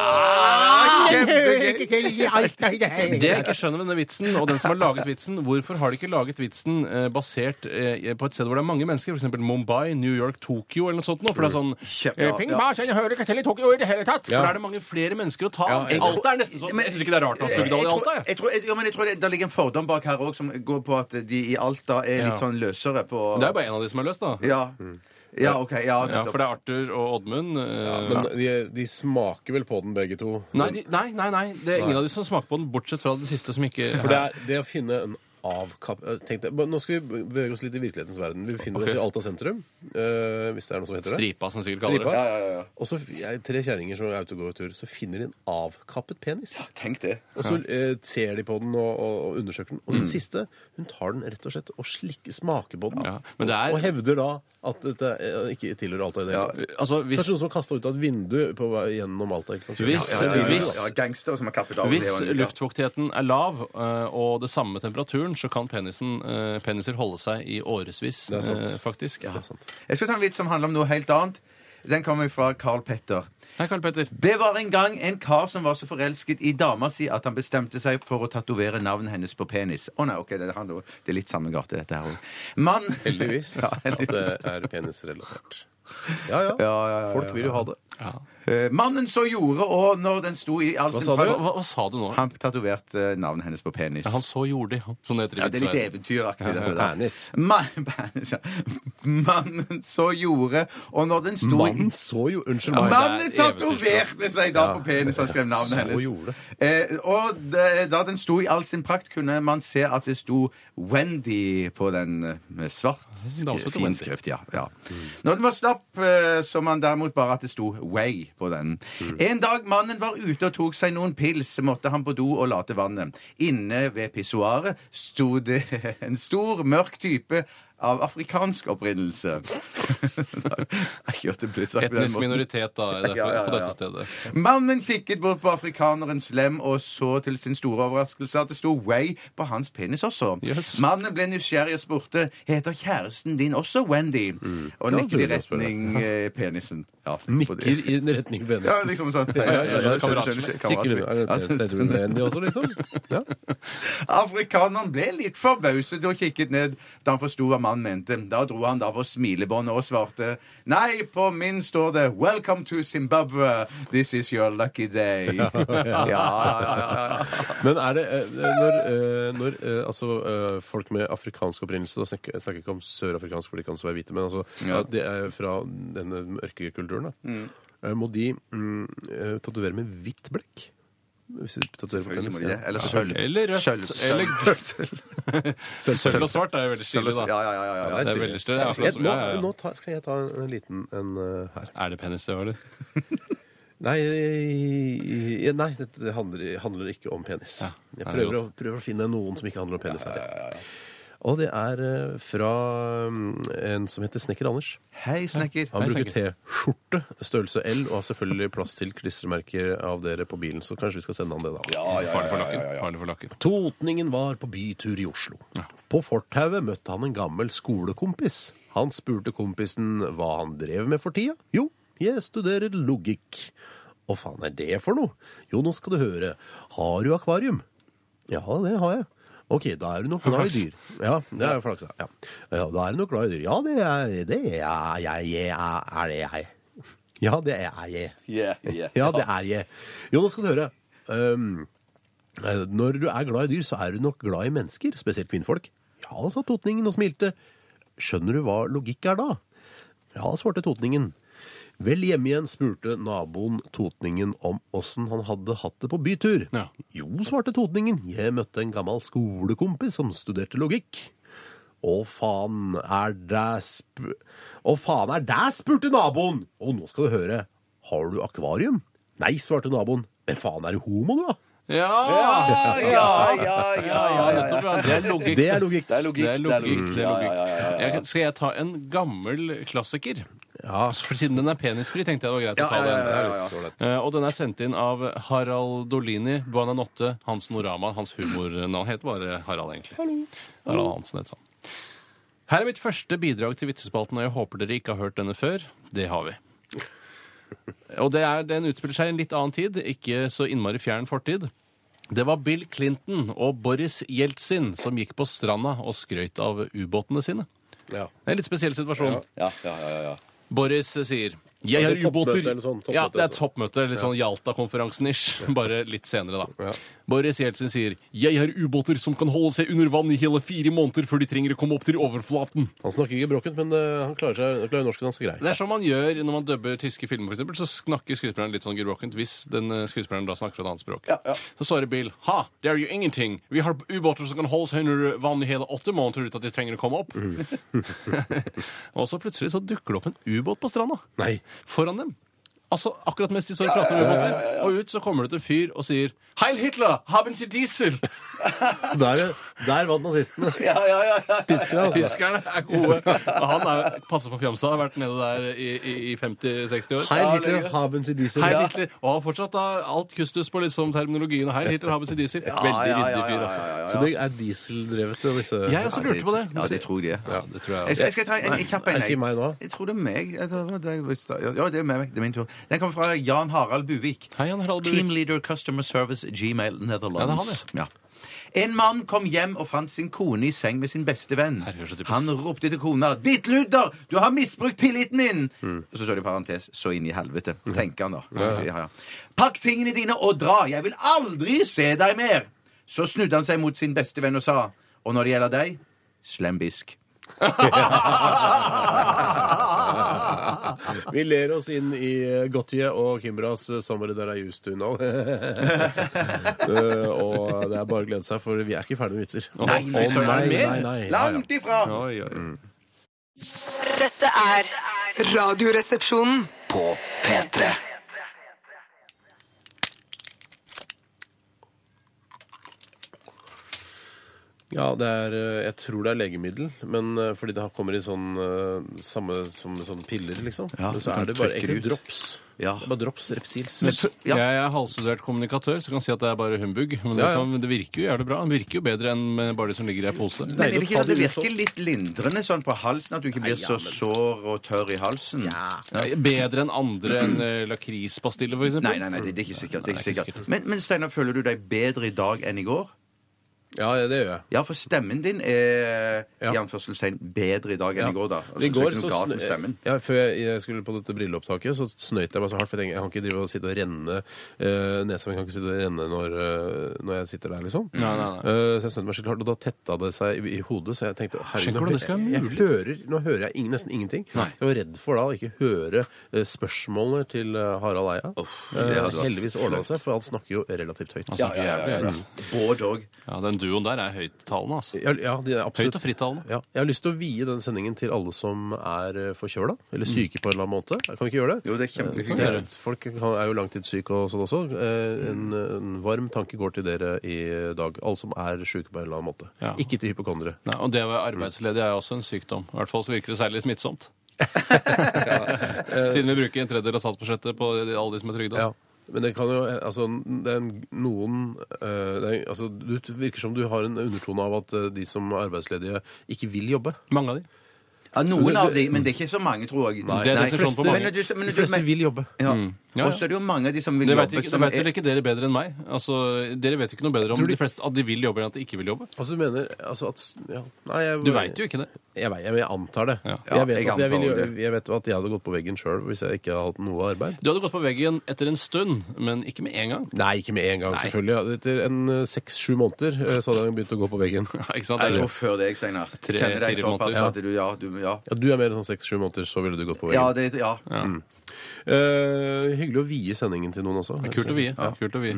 E: Det jeg ikke skjønner med denne vitsen, og den som har laget vitsen, hvorfor har de ikke laget vitsen eh, basert eh, på et sted hvor det er mange mennesker, f.eks. Mumbai, New York, Tokyo eller noe sånt? nå, For det er sånn
D: Kjempe-
E: eh, Ping,
D: ja.
E: ba, jeg hører ikke til i Tokyo i det hele tatt! For da er det mange flere mennesker å ta av.
D: jeg-
E: Alta er nesten sånn. Jeg syns ikke det er rart å
D: Jeg,
E: suge dal i
D: tror,
E: Alta, jeg.
D: jeg, tror, jo, men jeg tror det, der ligger en fordom bak her òg, som går på at de i Alta er
E: Ja.
D: litt sånn løsere på
E: Det er bare én av de som er løst, da.
D: Ja.
C: Mm.
D: ja, OK. Ja,
E: Ja,
D: nettopp.
E: for det er Arthur og Oddmund. eh,
C: Men de, de smaker vel på den, begge to?
E: nei, de, nei, nei, nei. Det er ingen av de som smaker på den, bortsett fra det siste som ikke
C: For det, er, det å finne en avkapp... eh, Tenk deg, bare- nå skal vi bevege oss litt i virkelighetens verden. Vi befinner oss i Alta sentrum, eh, hvis det er noe som heter det.
E: Stripa, som de sikkert kaller
C: Stripa.
E: det.
D: ja, ja, ja.
C: Og så f- jeg- tre kjerringer som er ute og går tur, så finner de en avkappet penis.
D: Tenk det.
C: Og så eh, ser de på den og, og, og undersøker den. Og
E: Mm.
C: den siste, hun tar den rett og slett og slikker, smaker på den.
E: Ja, men det er-
C: Og hevder da at dette eh, ikke tilhører Alta i det hele tatt.
E: Altså, hvis,
C: Kanskje noen som kasta ut av et vindu på vei gjennom Alta. ikke sant?
E: Hvis-
C: Ja, ja, ja, ja.
E: hvis-
D: Ja, gangster som har kappet av
E: hvis
D: Leon, ja.
E: luftfuktigheten er lav eh, og det samme med temperaturen, så kan penisen, eh, peniser holde seg i årevis,
C: Det er sant.
E: eh, faktisk.
C: Det er sant.
D: Jeg skal ta en vits som handler om noe helt annet. Den kommer fra Carl Petter.
E: Hei, Karl Petter.
D: Det var en gang en kar som var så forelsket i dama si at han bestemte seg for å tatovere navnet hennes på penis. Å nei, ok, det, handler, om- det er litt samme gate, dette her òg. Mann
C: Heldigvis
D: *laughs* Ja,
C: at eh, det
D: heldigvis.
C: er penisrelatert. Ja, ja.
D: Ja, ja, ja, ja.
C: Folk vil jo ha det.
D: Eh, Mannen så gjorde, og når den sto i all
C: Hva
D: sin
C: sa du?
E: Hva,
D: prakt-
E: hva, hva sa du nå?
D: Han tatoverte navnet hennes på penis.
E: Ja, han så jordig, han. Sånn heter det, i
D: Ja, det er litt
E: Sverige.
D: eventyraktig. dette der.
C: Penis.
D: Ma- *laughs* penis, ja. Mannen så gjorde, og når den sto i
C: Mannen så jo Unnskyld
E: Ja,
C: meg.
E: men-
D: Mannen
E: det er eventyrspråk.
D: tatoverte seg da på penis. Han skrev navnet
C: Så
D: hennes.
C: gjorde.
D: Eh, og det- da den sto i all sin prakt, kunne man se at det sto Wendy på den eh, med svart
E: er også
D: skri-
E: til
D: fin
E: Wendy.
D: skrift. Ja, ja.
E: Mm.
D: Når den var slapp, eh, så man derimot bare at det sto Way på den.
E: Mm.
D: En dag mannen var ute og tok seg noen pils, måtte han på do og *laughs* late vannet. Inne ved pissoaret sto det en stor, mørk type av afrikansk opprinnelse. *laughs* Jeg kjørte blizzard på den
E: Etnisk
D: måten.
E: minoritet, da, er
D: *laughs*
E: det
D: Ja, ja,
E: på
D: ja.
E: dette stedet.
D: Mannen kikket bort på afrikanerens lem og så til sin store overraskelse at det sto Way på hans penis også.
E: Yes.
D: Mannen ble nysgjerrig og spurte heter kjæresten din også Wendy. Og nikket i
C: naturlig å spørre.
D: retning eh, penisen. Ja, fordi-
C: Nikker i den retning penisen.
D: Ja, liksom sånn. Ja, ja, ja, skjønner, skjønner, skjønner, skjønner,
C: Kikker i- er det
D: kameratskap.
C: penis- heter det Wendy også, liksom? Ja.
D: Afrikaneren ble litt forbauset og kikket ned da han forsto hva mannen mente. Da dro han da på smilebåndet og svarte Nei, på min står det 'Welcome to Zimbabwe. This is your lucky
E: *laughs*
D: day'. Ja, ja, ja, ja.
C: Men er det eh, når, eh, når eh, altså, eh, folk med afrikansk opprinnelse Da snakker jeg snakker ikke om sørafrikansk, for de kan så være hvite, men altså
D: Ja.
C: at de er fra denne mørke kulturen, da. Eh, Må de mm, eh, tatovere med hvitt blekk? Hvis de tatoverer på
D: Selvfølgelig må
C: penis?
D: de det.
C: Ja.
D: Eller sølv.
E: Eller rødt.
D: Sølv.
E: Eller
D: Sølv.
E: *laughs* Sølv og svart er jo veldig
D: Sølv.
E: stilig, da.
D: Ja, ja, ja, ja, ja.
E: Det er veldig stilig. Det er
C: Jeg,
E: akkurat som-
C: nå
E: ja, ja, ja.
C: nå tar, skal jeg ta en, en liten en eh, her.
E: Er det penis, det, var det?
C: Nei, eh, nei dette handler, handler ikke om penis.
E: Ja,
C: Jeg
E: nei, det er
C: prøver å,
E: godt.
C: prøver å finne noen som ikke handler om penis. her. Og det er eh, fra mm, en som heter Snekker Anders.
D: Hei, snekker.
C: Han bruker T-skjorte, størrelse L, og har selvfølgelig plass til klistremerker av dere på bilen. Så kanskje vi skal sende han det, da.
E: Farlig for lakken. Farlig for lakken.
C: Totningen var på bytur i Oslo. På fortauet møtte han en gammel skolekompis. Han spurte kompisen hva han drev med for tida. Jo, jeg studerer logikk. Hva faen er det for noe? Jo, nå skal du høre. Har du akvarium? Ja, det har jeg. Ok, da er du nok glad i dyr. Ja, det er flaks. da. Ja. ja, da er du nok glad i dyr. Ja, det er det er jeg. jeg er, er det jeg. *laughs* Ja, det er jeg. Ja, det er jeg. Jo, nå skal du høre. Um, eh, når du er glad i dyr, så er du nok glad i mennesker, spesielt kvinnfolk. Ja, sa Totningen og smilte. Skjønner du hva logikk er da? Ja, svarte Totningen. Vel hjemme igjen spurte naboen Totningen om åssen han hadde hatt det på bytur.
E: Ja.
C: Jo, svarte Totningen, jeg møtte en gammel skolekompis som studerte logikk. Å faen er det sp... Å faen er det, spurte naboen. Og nå skal du høre. Har du akvarium? Nei, svarte naboen. Men faen, er du homo, da?
E: Ja!
D: Ja, ja, ja, ja.
E: Nettopp, ja. Det er logikk.
C: Det er logikk.
B: Det er logikk.
E: Det er logikk. Det er
B: Ja,
E: logikk.
B: ja, ja, ja, ja.
E: Jeg, skal jeg ta en gammel klassiker?
C: Ja.
E: Altså, for Siden den er penisfri, tenkte jeg det var greit å ta
D: ja, ja,
E: den.
D: ja, ja.
E: Eh, og den er sendt inn av Harald Dolini, Buananotte, Hans Norama, hans humornavn. Han heter bare Harald, egentlig. Harald Hansen heter han. Her er mitt første bidrag til vitsespalten, og jeg håper dere ikke har hørt denne før. Det
D: *laughs*
E: har vi. Og det er, den utspiller seg i en litt annen tid, ikke så innmari fjern fortid. Det var Bill Clinton og Boris Jeltsin som gikk på stranda og skrøyt av ubåtene sine.
C: Ja.
E: Det er en litt spesiell situasjon.
B: Ja, ja, ja, ja, ja.
E: Boris sier Jeg
C: Ja,
E: har
C: det er
E: ubåter.
C: toppmøte eller sånn, toppmøte,
E: ja, det er
C: altså.
E: toppmøte. Litt sånn Jalta-konferansen-ish. Bare litt senere, da.
C: Ja.
E: Boris Jeltsin sier 'Jeg har ubåter som kan holde seg under vann i hele fire måneder før de trenger å komme opp til overflaten'.
C: Han snakker ikke bråkent, men eh, han klarer, seg, han klarer norsken ganske greit.
E: Det er som man gjør når man dubber tyske filmer, for eksempel, så snakker skuespilleren litt sånn gebrokkent hvis den eh, skuespilleren da snakker fra et annet språk. Så svarer Bill 'Ha, det er jo ingenting. Vi har ubåter som kan holde seg under vann i hele åtte måneder uten at de trenger å komme opp'. og så plutselig så dukker det opp en ubåt på stranda.
C: *laughs* Nei.
E: foran dem. Altså, Akkurat mens de står og prater om ubåter. Og ut så kommer det til en fyr og sier 'Heil Hitler! Haben Sie Diesel!'
C: Der, der vant nazistene.
B: Ja, ja, ja, ja.
C: Tyskerne, altså.
E: Tyskerne er gode. Og han er passer for fjamsa. Har vært nede der i, i, i 50-60 år.
C: Heil Hitler, haben Sie diesel.
E: Heil Hitler. Og har fortsatt da alt kustus på liksom terminologien. Heil Hitler, haben Sie Diesel.
D: ja,
E: Veldig
D: ja,
E: ryddig fyr,
D: ja,
E: altså.
C: Så det er dieseldrevet, ja, disse
E: Jeg også lurte på det.
D: Ja, det tror jeg.
E: Ja, det tror jeg
D: Jeg
E: også.
D: skal, jeg skal ta en, en kjapp en.
C: Er det ikke meg nå?
D: Jeg tror det er meg. Jeg tror det er- Ja, det er meg. Det er min tur. Den kommer fra Jan Harald Buvik.
E: Hei, Jan Harald Buvik.
D: Team Leader Customer Service Gmail
E: Ja, det er han,
D: Netherlands. Ja. En mann kom hjem og fant sin kone i seng med sin beste venn.
E: Herre, så typisk.
D: Han ropte til kona 'Ditt ludder! Du har misbrukt tilliten min!' Og så står det i parentes 'Så inn i helvete', tenker han da. Ja, ja. 'Pakk tingene dine og dra! Jeg vil aldri se deg mer!' Så snudde han seg mot sin beste venn og sa 'Og når det gjelder deg slem bisk'.
C: Vi ler oss inn i eh, Gotye og Kimbras eh, 'Somebody That I Used To *laughs* Know'. Eh, og det er bare å glede seg, for vi er ikke ferdig med vitser. Å,
E: Nei, nei, så er det
C: nei,
E: mer.
C: nei, nei.
D: Langt ifra!
E: Oi, oi, oi.
A: Dette er Radioresepsjonen.
B: På P3.
C: Ja, det er, eh, jeg tror det er legemiddel, men eh, fordi det har- kommer i sånn eh, samme som sånn piller, liksom.
D: Ja,
C: Men
D: du
C: så
D: kan
C: er det bare
D: trykke det
C: egentlig
D: ut.
C: drops.
D: Ja.
C: Det er Bare drops, Repsils.
D: Men så- ja.
E: Jeg er halvstudert kommunikatør, så jeg kan si at det er bare humbug. Men
C: Ja,
E: Det,
C: ja.
E: kan, det virker jo jævlig bra. Det virker jo bedre enn eh, bare det som ligger i ei pose.
D: Men
C: Deilig
D: vil
C: å
D: ikke
C: ta
D: det
C: det ut
D: virke litt lindrende sånn på halsen? At du ikke blir så sår og tørr i halsen? Ja.
E: Ja, Bedre enn andre enn eh, lakrispastiller, for eksempel.
D: Nei, nei, nei, det det er ikke sikkert. Det er ikke
E: Nei, det er ikke
D: sikkert. Men, men Steinar, føler du deg bedre i dag enn i går?
C: Ja, det gjør jeg.
D: Ja, for stemmen din er
C: Ja.
D: i anførselstegn bedre i dag enn
C: Ja.
D: i går, da. Altså,
C: I
D: det
C: går
D: er ikke
C: så
D: noe galt med
C: snø-
D: stemmen.
C: ja, Før jeg jeg skulle på dette brilleopptaket, så snøyt jeg meg så hardt. For jeg tenkte, jeg kan ikke drive og sitte og renne eh, nesa mi kan ikke sitte og renne når, eh, når jeg sitter der,
D: Mm.
C: liksom.
E: nei, nei.
C: Eh, så jeg snøyte meg skikkelig hardt, og da tetta det seg i, i hodet. Så jeg tenkte herregud,
E: Skjønner
C: nå,
E: hvordan det
C: hører-
E: skal være
C: jeg,
E: mulig.
C: jeg hører, nå hører jeg ing- nesten ingenting. Jeg var redd for da å ikke høre eh, spørsmålene til eh, Harald Eia.
D: det
C: Eh,
D: hadde vært
C: heldigvis ordna det seg, for han snakker jo relativt høyt.
E: Han snakker jævlig høyt.
D: Bård òg.
E: Ja, Den duoen der er høyttalende, altså.
C: Ja, ja, de er absolutt.
E: Høyt og frittalende.
C: Ja. Jeg har lyst til å vie den sendingen til alle som er eh, forkjøla,
E: Mm.
C: eller syke på en eller annen måte. Kan vi ikke gjøre det?
D: Jo, det er kjempehyggelig.
C: Det er- Folk kan- er jo langtidssyke og sånn også. Eh, En,
E: Mm.
C: en varm tanke går til dere i dag, alle som er syke på en eller annen måte.
E: Ja.
C: Ikke til hypokondere.
E: Nei, og det å være arbeidsledig er jo også en sykdom. I hvert fall så virker det særlig smittsomt. *laughs* Siden vi bruker en tredjedel av statsbudsjettet på de- alle de som er trygda.
C: Ja.
E: altså.
C: Men det kan jo Altså, det er en- noen eh, det er, altså, Du virker som du har en undertone av at eh, de som er arbeidsledige, ikke vil jobbe.
E: Mange av de.
D: Ja, noen av de, men det er ikke så mange, tror jeg.
E: det er definisjonen på mange.
D: Men du- men
C: De
D: du-
C: fleste
D: men-
C: vil jobbe.
D: Ja.
E: ja.
D: Og så er det jo mange av de som vil
E: Det vet,
D: jobbe
E: ikke, det
D: som
E: vet vel
D: er-
E: ikke dere bedre enn meg. Altså, Dere vet jo ikke noe bedre om
C: de-
E: de fleste, at de vil jobbe enn at de ikke vil jobbe.
C: Altså, du mener altså at ja. Nei, jeg,
E: Du veit jo ikke det.
C: Jeg, vet, jeg, jeg antar det.
E: Ja.
C: Jeg, vet
D: Ja, jeg
C: at jeg,
D: antar
C: ville,
D: det.
C: jeg vet at jeg hadde gått på veggen sjøl hvis jeg ikke hadde hatt noe arbeid.
E: Du hadde gått på veggen etter en stund, men ikke med en
C: *laughs*
E: gang.
C: Nei, ikke med en gang, selvfølgelig. Etter en seks-sju måneder eh, så hadde jeg begynt å gå på veggen.
E: Ja, ikke sant?
D: Nei, det
E: Eller-
D: var før deg, Steinar.
E: Tre,
D: Kjenner deg
E: fire
D: såpass
E: måneder.
D: at du Ja, du, ja.
C: Ja, Du er mer sånn seks-sju måneder, så ville du gått på
D: ja,
C: veggen.
D: det, ja.
C: Eh, hyggelig å vie sendingen til noen også.
E: Kult å vie. Kult å vie.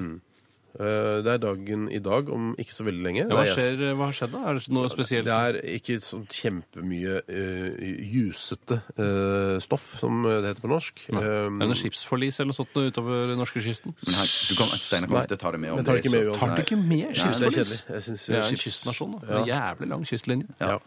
C: Eh, det er dagen i dag om ikke så veldig lenge.
E: Ja, hva,
C: Det er jeg-
E: skjer, hva har skjedd, da? Er det noe spesielt?
C: Det er ikke sånn kjempemye uh, jusete eh, stoff, som det heter på norsk.
E: Er
C: Um,
E: det noe skipsforlis eller noe sånt utover norskekysten?
D: Men han, du kommer, Steinar kommer til å ta det med om
C: jeg tar det ikke med
D: så-
C: uansett. Tar
E: du ikke med
D: Nei.
C: jeg synes det er kjedelig. Jeg synes, eh,
E: Vi er en
C: chips-
E: kystnasjon, da. Med Jævlig lang kystlinje.
C: Ja.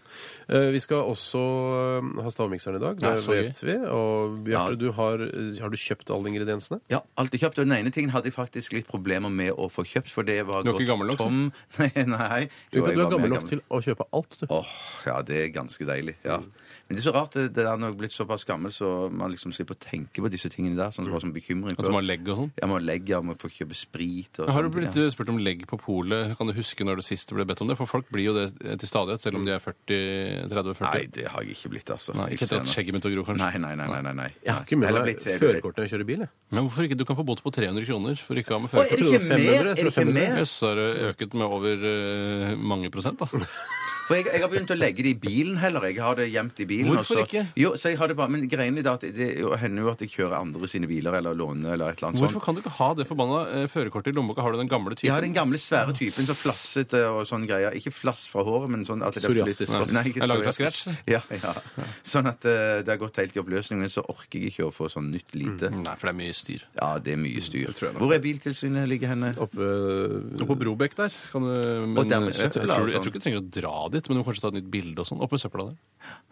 C: Eh, Vi skal også eh, ha stavmikseren i dag, det
E: Nei, så gøy.
C: vet vi. Og
D: Ja.
C: Bjarte, du har, eh, har du kjøpt alle ingrediensene?
D: Ja, alt er kjøpt. Og den ene tingen hadde jeg faktisk litt problemer med å få kjøpt, for det var
E: Du er ikke
D: gått
E: gammel nok, så?
D: tom. *laughs* Nei, nei.
C: Du,
D: Jo, jeg
C: du er
D: var mer
C: gammel nok til Mm. å kjøpe alt, du.
D: Åh, ja, det er ganske deilig. Ja. Men det er så rart, det det er nok blitt såpass gammel, så man liksom slipper å tenke på disse tingene der,
C: Mm.
D: sånn som var som bekymring
E: At du må
D: før.
E: ha legg og sånn.
D: Jeg må legge, jeg må få kjøpe sprit og
E: Har du
D: sånne ting,
E: blitt
D: ja.
E: spurt om legg på polet? Kan du huske når det siste ble bedt om det? For folk blir jo det til stadighet, selv om de er 40, 30 40.
D: Nei, det har jeg ikke blitt, altså.
E: Nei, ikke etter at
D: Steinar.
E: skjegget begynte å gro, kanskje.
D: Nei, nei, nei, nei, nei, nei.
C: Jeg har ikke med
D: Eller
C: meg
D: blitt-
C: førerkort når jeg kjører bil. Jeg.
E: Men hvorfor ikke? Du kan få bot på 300 kroner for ikke å ha
D: Å,
E: med
D: er det
E: førerkort.
C: Jeg tror
D: ikke
C: det var
D: mer? Er
C: 500, jeg
D: det
C: tror
D: ikke
C: 500.
D: mer?
E: Jøss, så har det øket med over eh, mange prosent, da.
D: For jeg, jeg har begynt å legge det i bilen heller. Jeg har det gjemt i bilen.
E: Hvorfor
D: og så-
E: ikke?
D: Jo, så jeg har det bare, Men greien er da at det jo hender jo at jeg kjører andre sine biler eller låner eller et eller annet sånt.
E: Hvorfor kan du ikke ha det forbanna eh, førerkortet i lommeboka? Har du den gamle typen?
D: Ja, den gamle, svære typen som flasset og sånn greier. Ikke flass fra håret, men sånn at det er for litt-
C: Psoriasis-flass.
D: Nei, ikke
E: Jeg lager fra
D: psoriasis.
E: scratch.
D: Ja, ja. Sånn at eh, det har gått helt i oppløsning, men så orker jeg ikke å få sånn nytt lite.
E: Nei, for det er mye styr.
D: Ja, det er mye styr. Hvor er Biltilsynet ligger henne?
C: Oppe,
E: Og på Brobekk der kan du men,
D: Og der med
E: jeg, tror- jeg,
D: søpla og
E: tror, jeg
D: sånn.
E: tror ikke du trenger å dra dit, men du må kanskje ta et nytt bilde og sånn. Opp med søpla der.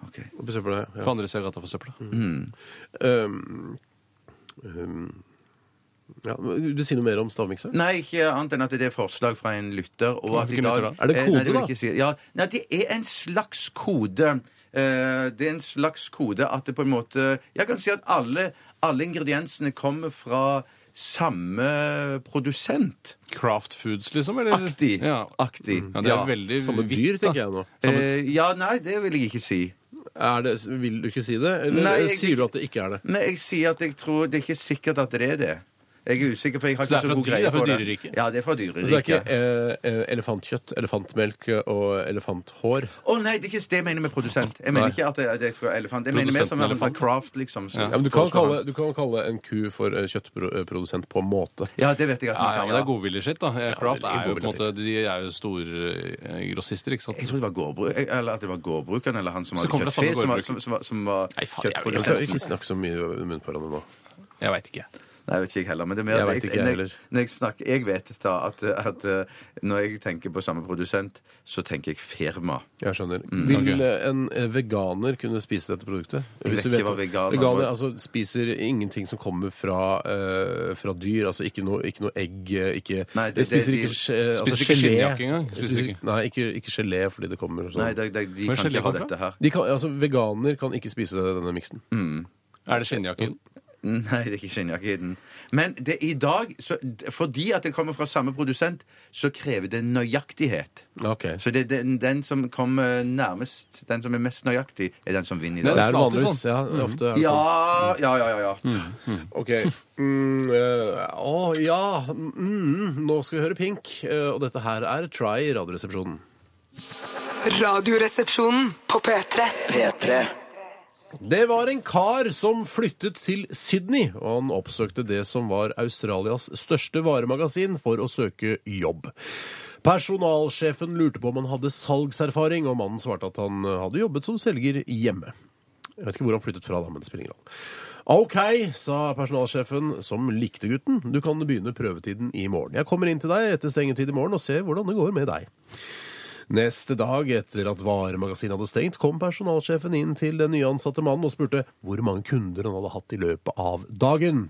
D: Ok.
C: oppe søpla, ja.
E: På andre sida av gata for søpla.
C: Um, um, ja. men Du sier noe mer om stavmikseren?
D: Nei, ikke annet enn at det er forslag fra en lytter. Og at i
E: Hvilken
D: dag,
E: lytter da?
C: Er det
D: Eh,
C: kode,
D: nei, det vil jeg
C: da?
D: ikke Si. Ja, nei, det er en slags kode. Eh, det er en slags kode at det på en måte Jeg kan si at alle, alle ingrediensene kommer fra samme produsent.
E: Craft foods, liksom? Eller?
D: Aktig.
E: Ja.
D: Aktig.
E: ja, det er veldig
C: Samme
E: vidt,
C: dyr,
E: da.
C: tenker jeg nå.
D: Eh, ja, nei, det vil jeg ikke si.
C: Er det, vil du ikke si det, eller
D: Nei, jeg-
C: sier du at det ikke er det?
D: Men jeg sier at jeg tror det er ikke sikkert at det er det. Jeg er usikker, for jeg har
E: Så det
D: ikke
E: er
D: så
E: fra
D: god
E: dyr-
D: greie
E: det er fra
D: på det.
E: dyreriket?
D: Ja, det er fra
C: Så Altså, det
D: dyreriket.
C: er ikke eh, eh, elefantkjøtt, elefantmelk og elefanthår?
D: Å nei, det er ikke det jeg mener med produsent. Jeg mener
C: Nei.
D: ikke at det er- det er fra elefant. Jeg mener mer
E: Produsenten
D: som en
E: elefant.
D: craft, liksom. som
C: Ja, men du, kan
D: foreslår
C: kalle,
D: han.
C: du kan kalle en ku for eh, kjøttprodusent på en måte.
D: Ja, det vet jeg at
E: Ja,
D: man
E: ja,
D: kan.
E: men det er godviljeskitt, da. Eh, Craft
C: veldig
E: er jo på en
C: godvillig
E: måte De er jo store eh, grossister, ikke
D: Jeg
E: sant?
D: tror det var gårdbruk, eller at det var gårdbrukeren eller han som hadde
E: kommer fra
D: kjøttfe,
E: samme
D: som var,
E: gårdbruker.
D: som, som var, som var
E: Nei, faen, jeg-
C: Ikke
D: kjøttprodusenten.
C: snakk så mye i munnen på hverandre nå.
E: Jeg veit ikke.
D: Nei, jeg vet ikke jeg heller. Men det er mer
C: Jeg
D: at
C: vet ikke jeg
D: når
C: heller.
D: Når jeg, snakker, jeg vet da at, at eh, når jeg tenker på samme produsent, så tenker jeg firma.
C: Jeg skjønner.
D: Mm,
C: Vil
E: ok.
C: eh, en eh, veganer kunne spise dette produktet?
D: Jeg vet
C: du
D: ikke hva veganer
C: veganer
D: var.
C: altså, spiser ingenting som kommer fra, eh, fra dyr. Altså ikke noe, ikke noe egg, eh, ikke
D: Nei, det-
C: De
D: det-
C: spiser
D: de-
C: ikke, skje- altså,
E: Spiser ikke
C: gelé.
E: skinnjakke engang? Spiser
C: Spiser
E: ikke.
C: ikke- Nei, ikke, ikke gelé fordi det kommer sånn.
D: Nei, de, de, de kan
E: Hvor skiller
D: ikke ha
E: man fra?
D: dette her. *laughs*
C: de kan, altså, veganer kan ikke spise denne miksen.
E: Er det skinnjakken?
D: Nei, det er ikke skinnjakkehiden. Men det, i dag, så, fordi at det kommer fra samme produsent, så krever det nøyaktighet.
C: Ok.
D: Mm. Så det, den, den som kommer nærmest, den som er mest nøyaktig, er den som vinner i
E: Men-
C: Det
D: dag.
C: er det
E: alltid
C: vanligvis. Ja,
E: Mm.
C: ofte er det
D: Ja,
C: sånn.
D: ja, ja, ja. ja.
C: Ok. Mm, eh, Å ja, mm, nå skal vi høre Pink. eh, og dette her er Try i Radioresepsjonen.
A: Radioresepsjonen på P3.
B: P3.
C: Det var en kar som flyttet til Sydney, og han oppsøkte det som var Australias største varemagasin for å søke jobb. Personalsjefen lurte på om han hadde salgserfaring, og mannen svarte at han hadde jobbet som selger hjemme. Jeg vet ikke hvor han flyttet fra, da, men det spiller ingen rolle. OK, sa personalsjefen, som likte gutten. Du kan begynne prøvetiden i morgen. Jeg kommer inn til deg etter stengetid i morgen og ser hvordan det går med deg. Neste dag, etter at varemagasinet hadde stengt, kom personalsjefen inn til den nyansatte mannen og spurte hvor mange kunder han hadde hatt i løpet av dagen.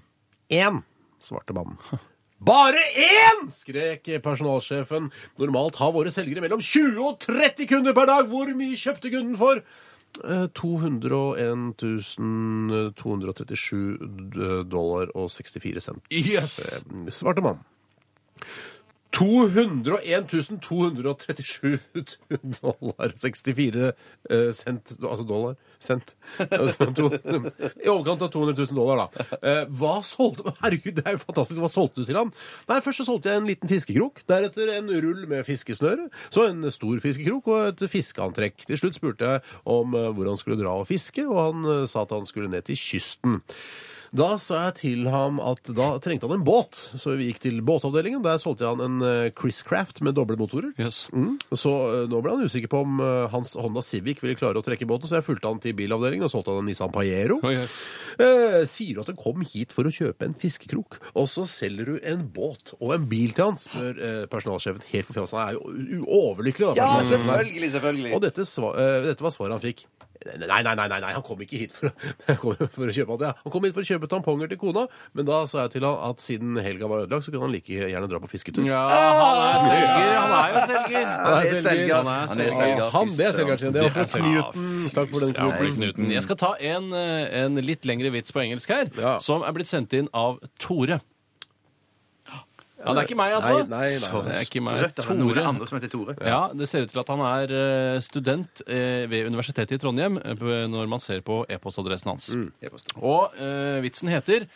C: Én, svarte mannen. *laughs* Bare én! skrek personalsjefen. Normalt har våre selgere mellom 20 og 30 kunder per dag. Hvor mye kjøpte kunden for? Eh, 201 eh, 237 eh, dollar og 64 cent,
E: Yes!
C: eh, svarte mannen. 201 *laughs* 237 dollar 64 eh, cent Altså dollar. Cent. Altså, to, I overkant av 200 000 dollar, da. Eh, hva solgte Herregud, det er jo fantastisk. Hva solgte du til han? Nei, Først så solgte jeg en liten fiskekrok. Deretter en rull med fiskesnøre. Så en stor fiskekrok og et fiskeantrekk. Til slutt spurte jeg om eh, hvor han skulle dra og fiske, og han eh, sa at han skulle ned til kysten. Da sa jeg til ham at da trengte han en båt, så vi gikk til båtavdelingen. Der solgte han en eh, Chris Craft med doble motorer.
E: Yes.
C: Mm. Så eh, nå ble han usikker på om eh, hans Honda Civic ville klare å trekke båten, så jeg fulgte han til bilavdelingen og solgte han en Nissan Pajero.
E: Oh, yes.
C: Eh, sier du at han kom hit for å kjøpe en fiskekrok, og så selger du en båt og en bil til han, spør eh, personalsjefen helt forfjamset. Han er jo u- overlykkelig, da.
D: Ja,
C: personalsjefen.
D: selvfølgelig, selvfølgelig.
C: Og dette, sva- eh, dette var svaret han fikk. Nei, nei, nei, nei, nei, han kom ikke hit for, å- *laughs* han kom jo for å kjøpe alt det. ja. Han kom hit for å kjøpe tamponger til kona, men da sa jeg til han at siden helga var ødelagt, så kunne han like gjerne dra på fisketur.
E: Ja, han er selger. Han er jo selger.
D: Han er selger.
E: Han er
D: Han er
E: selger.
D: selger.
C: Å, han, det er selgeren sin. Det var
E: Det er
C: fra
E: selgeren.
C: Knuten. Takk for den
E: Ja, Blake
C: knoten.
E: Newton. Jeg skal ta en, eh, en litt lengre vits på engelsk her,
C: Ja.
E: som er blitt sendt inn av Tore. Ja, det er ikke meg,
C: Nei,
E: altså.
C: nei, nei.
E: Det er ikke meg.
D: Rødt er det noen
E: Tore.
D: andre som heter Tore.
E: Ja, Det ser ut til at han er eh, student eh, ved Universitetet i Trondheim eh, på- når man ser på e-postadressen hans. Og eh, vitsen heter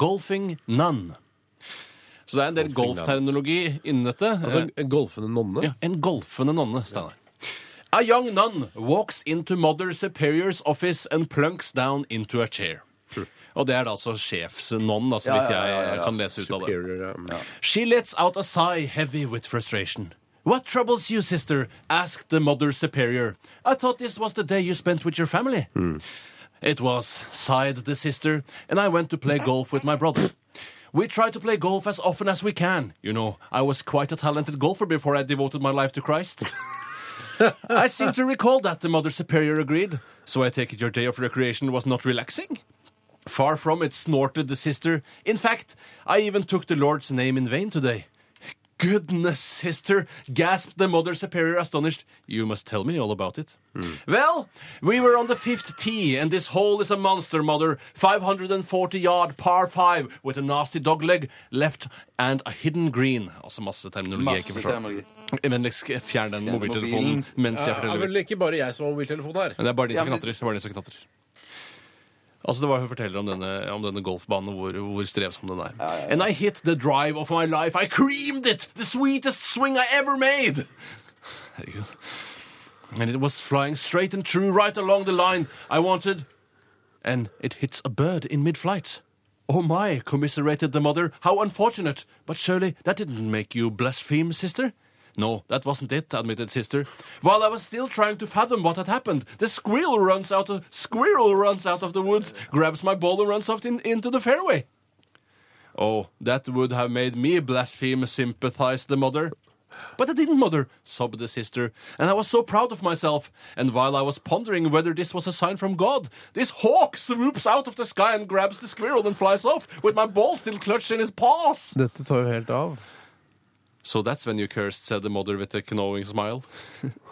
E: 'Golfing None'. Så det er en
C: Golfing
E: del
C: none.
E: golfterminologi innen dette.
C: Altså, en golfende nonne.
E: Ja, en golfende nonne, Steinar. A young nun walks into mother superior's office and plunks down into a chair. Og det er da altså sjefsnonnen, da, så vidt jeg kan lese ut av det.
C: Superior, ja.
E: She lets out a sigh heavy with frustration. What troubles you, sister? asked the mother superior. I thought this was the day you spent with your family. It was, sighed the sister, and I went to play golf with my brother. We try to play golf as often as we can. You know, I was quite a talented golfer before I devoted my life to Christ. I seem to recall that, the mother superior agreed. So I take it your day of recreation was not relaxing? Far from it, snorted the sister. In fact, I even took the Lord's name in vain today. Goodness, sister, gasped the mother superior, astonished. You must tell me all about it. Well, we were on the fifth tee, and this hole is a monster, mother. 540 yard par five with a nasty dog leg left and a hidden green. Altså masse terminologi jeg er
D: Masse
E: ikke forstår.
D: terminologi.
E: Men sk- fjern den mobiltelefonen
D: mobilen.
E: mens jeg
C: Ja,
E: forteller
C: men
E: vitsen.
C: ikke bare jeg som har mobiltelefon her.
E: Men det er bare de som
D: Ja, men-
E: knatrer. Det er bare de som knatrer. Altså, det var Hun forteller om denne, om denne golfbanen, hvor, hvor strevsom den er. And I hit the drive of my life. I creamed it! The sweetest swing I ever made! Herregud. And it was flying straight and true right along the line I wanted. And it hits a bird in mid-flight. Oh my, commiserated the mother. How unfortunate. But surely that didn't make you blaspheme, sister? No, that wasn't it, admitted sister. While I was still trying to fathom what had happened, the squirrel runs out of squirrel runs out of the woods, grabs my ball and runs off in, into the fairway. Oh, that would have made me blaspheme, sympathize the mother. But I didn't, mother, sobbed the sister, and I was so proud of myself. And while I was pondering whether this was a sign from God, this hawk swoops out of the sky and grabs the squirrel and flies off, with my ball still clutched in his paws.
C: Dette tar jo helt av.
E: So that's when you cursed, said the mother with a knowing smile. *laughs*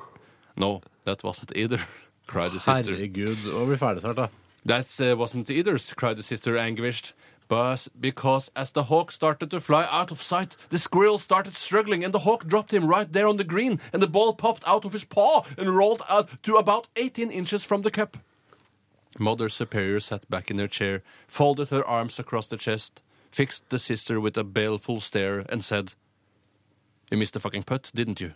E: no, that wasn't either, cried the sister.
C: Herregud. Nå blir vi ferdig snart, da.
E: That uh, wasn't either's, cried the sister, anguished. But because as the hawk started to fly out of sight, the squirrel started struggling, and the hawk dropped him right there on the green, and the ball popped out of his paw and rolled out to about 18 inches from the cup. Mother Superior sat back in her chair, folded her arms across the chest, fixed the sister with a baleful stare, and said, You missed the fucking putt, didn't you?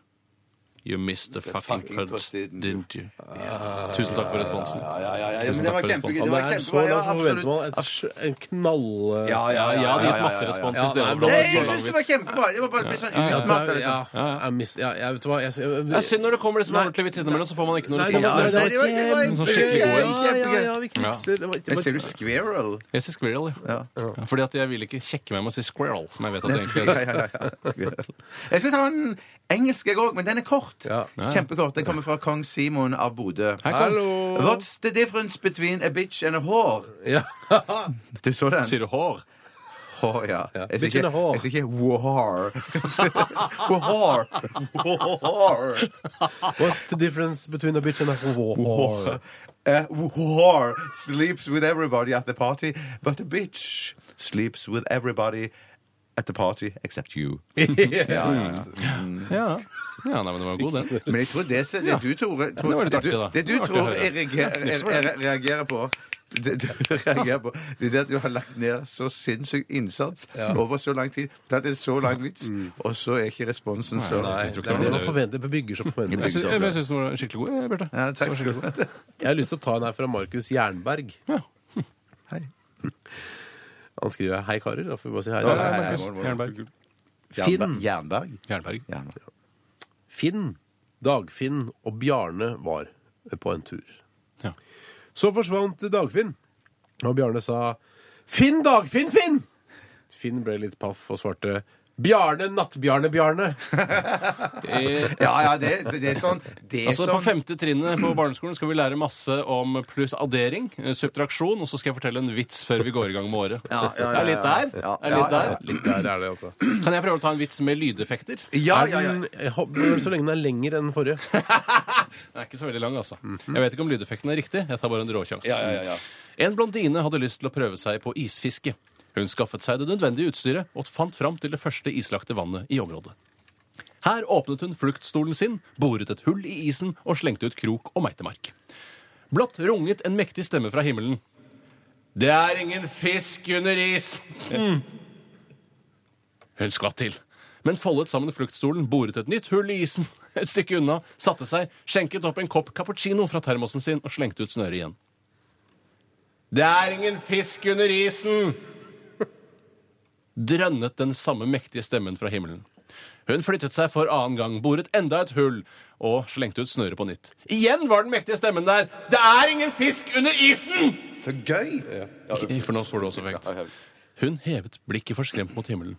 E: You missed the, fucking,
D: fucking
E: putt,
D: putt, didn't
E: didn't,
D: you?"
E: you? Tusen takk for responsen.
B: Ah. Ja, ja, ja, ja, ja,
E: Tusen
B: men
E: takk
B: det
E: for
B: var
E: responsen.
D: kjempegøy.
C: Og
D: Det var kjempe- ja, absolutt.
C: det er så langt, så forventer man et, sj- en knall...
D: Ja, ja,
E: Ja, jeg hadde
D: ja,
E: gitt
D: ja,
E: masse
D: ja, ja.
E: respons
C: ja.
E: hvis det
C: Ja,
E: var
C: nei,
E: for
D: Nei,
E: lang
D: jeg synes det var
E: vits.
D: kjempebra. Det var bare litt sånn
C: Ja,
D: utmattet,
C: jeg, ja,
D: liksom.
C: jeg, mis, ja, jeg vet du hva jeg, jeg, jeg,
E: Det er synd når det kommer liksom
C: Nei.
E: ordentlig vits innimellom, så får man ikke noen
C: Nei,
E: respons.
C: det var-
E: Det er-
C: det var
E: Sånn skikkelig
C: Ja,
E: god
D: en.
C: ja, ja, ja, vi knipser. Det var- det
D: Jeg
C: var-
D: ser du Squirrel.
E: Jeg sier squirrel, ja. Ja, Fordi at jeg vil ikke kjekke meg med å si squirrel, som jeg vet at det egentlig
D: Ja,
E: er.
D: ja, ja, ja. Squirrel. Jeg skal ta en engelsk jeg òg, men den er kort.
C: Ja.
D: Kjempekort. Den kommer fra kong Simon av Bodø.
E: Hei, Karl.
C: Hallo!
D: What's the difference between a bitch and a whore?
C: Ja.
D: Du så den?
E: Sier du hår?
D: Hår, ja. Jeg sier
C: Bitch
D: ikke,
C: and a whore.
D: jeg sier ikke
C: *laughs*
D: war. war. War.
C: What's the difference between a bitch and a *laughs* whore?
D: A Eh, whore sleeps with everybody at the party, but a bitch sleeps with everybody at the party except you. Ja, ja, ja.
E: Ja. ja, nei, men det var god, den.
D: Men jeg tror det, det du, Tore tror,
E: var litt
D: det,
E: artig,
D: du,
E: da.
D: det du
E: Det var artig å
D: tror
E: høre.
D: jeg reagerer, jeg, jeg reagerer på det du reagerer på, det er det at du har lagt ned så sinnssyk innsats over så lang tid. Det er så lang vits, og så er ikke responsen så
E: Nei, jeg
C: Det
E: tror ikke
C: er det
E: det
C: man
E: var det.
C: forventer på bygger som
E: Jeg
C: forventer.
E: syns jeg syns den var skikkelig god, eh, Bjarte.
D: Ja, takk *laughs* skal du ha.
C: Jeg har lyst til å ta en her fra Markus Jernberg.
E: Ja.
C: Han skriver hei, karer. Da får vi bare si hei.
D: Ja, ja, ja.
E: Markus
D: må- må-
E: Jernberg.
D: Jernberg.
C: Finn,
D: Jernberg.
E: Jernberg.
D: Jernberg.
C: Finn, Dagfinn og Bjarne var på en tur.
E: Ja.
C: Så forsvant Dagfinn, og Bjarne sa 'Finn, Dagfinn, Finn!' Finn ble litt paff og svarte 'Bjarne, Nattbjarne, Bjarne'.
E: Eh,
D: Ja, ja, det, det er sånn det er
E: Altså På
D: sånn-
E: femte trinnet på barneskolen skal vi lære masse om pluss addering, eh, subtraksjon, og så skal jeg fortelle en vits før vi går i gang med året.
D: Ja, ja, ja,
E: Det er
D: ja.
E: litt der.
D: Ja,
E: Det er litt
D: ja, ja.
E: der.
C: Litt der er det, altså.
E: Kan jeg prøve å ta en vits med lydeffekter?
D: Ja,
C: er
D: ja, ja.
C: den, jeg håper, så lenge den er lenger enn forrige.
E: Den er ikke så veldig lang, altså. Jeg vet ikke om lydeffekten er riktig. Jeg tar bare en råsjanse.
B: ja, ja, ja.
E: En blondine hadde lyst til å prøve seg på isfiske. Hun skaffet seg det nødvendige utstyret og fant fram til det første islagte vannet i området. Her åpnet hun fluktstolen sin, boret et hull i isen og slengte ut krok og meitemark. Blått runget en mektig stemme fra himmelen. Det er ingen fisk under is!
B: Mm.
E: Hun skvatt til, men foldet sammen fluktstolen, boret et nytt hull i isen *laughs* et stykke unna, satte seg, skjenket opp en kopp cappuccino fra termosen sin og slengte ut snøret igjen. Det er ingen fisk under isen! Drønnet den samme mektige stemmen fra himmelen. Hun flyttet seg for annen gang, boret enda et hull og slengte ut snøret på nytt. Igjen var den mektige stemmen der. Det er ingen fisk under isen!
D: Så gøy!
E: Ikke- For nå får du også effekt. Hun hevet blikket forskremt mot himmelen.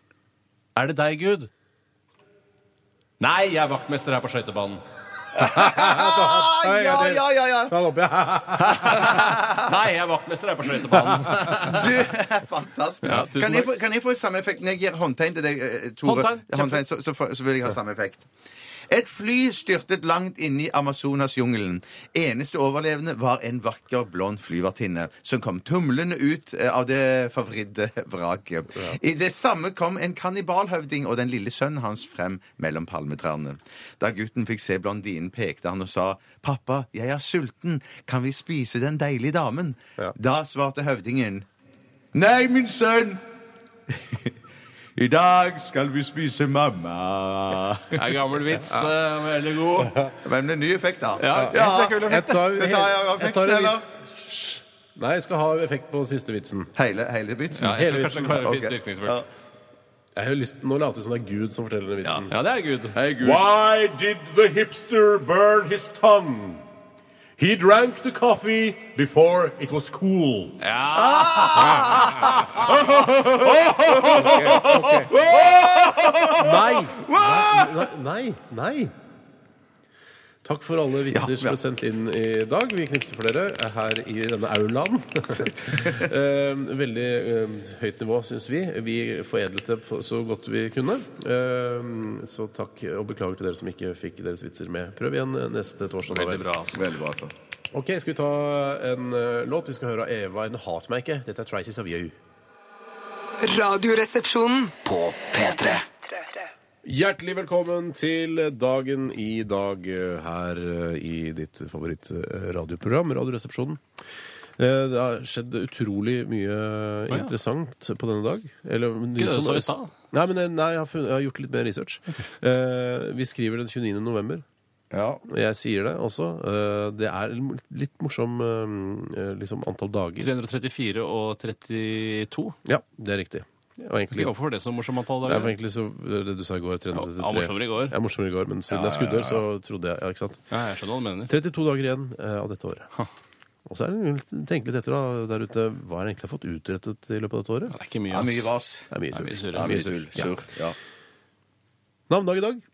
E: Er det deg, Gud? Nei, jeg er vaktmester her på skøytebanen.
D: Ja, ja, ja, ja, ja.
C: Da håper jeg.
E: Nei, jeg er vaktmester her på skøytebanen.
D: *laughs* Du, fantastisk.
E: Ja, tusen
D: kan, jeg
E: takk.
D: få, kan jeg få samme effekt når jeg gir håndtegn til deg, eh, Tore?
E: Håndtegn, kjempe-
D: håndtegn så, så, får- så vil jeg ha samme effekt. Et fly styrtet langt inn i Amazonasjungelen. Eneste overlevende var en vakker, blond flyvertinne som kom tumlende ut eh, av det forvridde *laughs* vraket. I det samme kom en kannibalhøvding og den lille sønnen hans frem mellom palmetrærne. Da gutten fikk se blondinen, pekte han og sa, 'Pappa, jeg er sulten. Kan vi spise den deilige damen?' Da svarte høvdingen, 'Nei, min sønn. I dag skal vi spise mamma.'
E: Det er gammel vits. eh, Veldig god.
D: *laughs* Men det er ny effekt, da. Ja,
C: Jeg tar,
D: Så tar jeg
C: jeg
D: effekten,
C: tar en
D: eller?
C: vits. Hysj. Nei, jeg skal ha effekt på siste vitsen.
D: Hele, hele vitsen?
E: Ja, jeg tror kanskje det kan være fint
D: Ok.
E: virkningsfullt.
C: Jeg har lyst, nå later det som det er Gud som forteller den vitsen.
E: Ja, det er Gud.
C: Why did the hipster burn his tongue? He drank the coffee before it was cool. Nei. Nei, nei, nei. Takk for alle vitser som ble sendt inn i dag. Vi knipser for dere her i denne aulaen. *laughs* Eh, Veldig eh, høyt nivå, syns vi. Vi foredlet det på- så godt vi kunne. Eh, Så takk og beklager til dere som ikke fikk deres vitser med. Prøv igjen neste torsdag.
E: Veldig bra. altså.
B: Veldig bra. altså.
C: Ok, skal vi ta en eh, låt? Vi skal høre av Eva en hatmerke. Dette er 'Traces of You'.
A: Radioresepsjonen.
B: På P3.
C: Hjertelig velkommen til dagen i dag eh, her eh, i ditt favorittradioprogram, Radioresepsjonen. Eh, Det har skjedd utrolig mye eh,
E: ja.
C: interessant på denne dag. Eller,
E: Ikke det du sa i stad?
C: Nei, men eh, nei, jeg, har funnet, jeg har gjort litt mer research. Eh, Vi skriver den 29. november.
B: Ja.
C: Jeg sier det også. Eh, Det er en litt morsom eh, liksom antall dager.
E: 334 og 32.
C: Ja, det er riktig. Det var
E: Ikke
C: egentlig,
E: overfor det som morsomt antall
C: det var
E: dager.
C: egentlig så, det du sa i går. 333.
E: Ja, morsommere i går.
C: Ja, morsommere i går, men siden det er skuddår, så trodde jeg ja, ikke sant?
E: Ja, jeg skjønner hva du mener.
C: 32 dager igjen eh, av dette året. Og så er det litt- tenk litt etter da, der ute. Hva er det egentlig jeg har fått utrettet i løpet av dette
E: Ja,
C: året?
E: Det er ikke mye,
B: Ja, mye
E: ass.
B: vas.
C: Det er mye
E: mye
C: tull.
E: surr.
C: Det er mye surr.
B: Surr. Surr. Ja.
C: Navnedag i dag.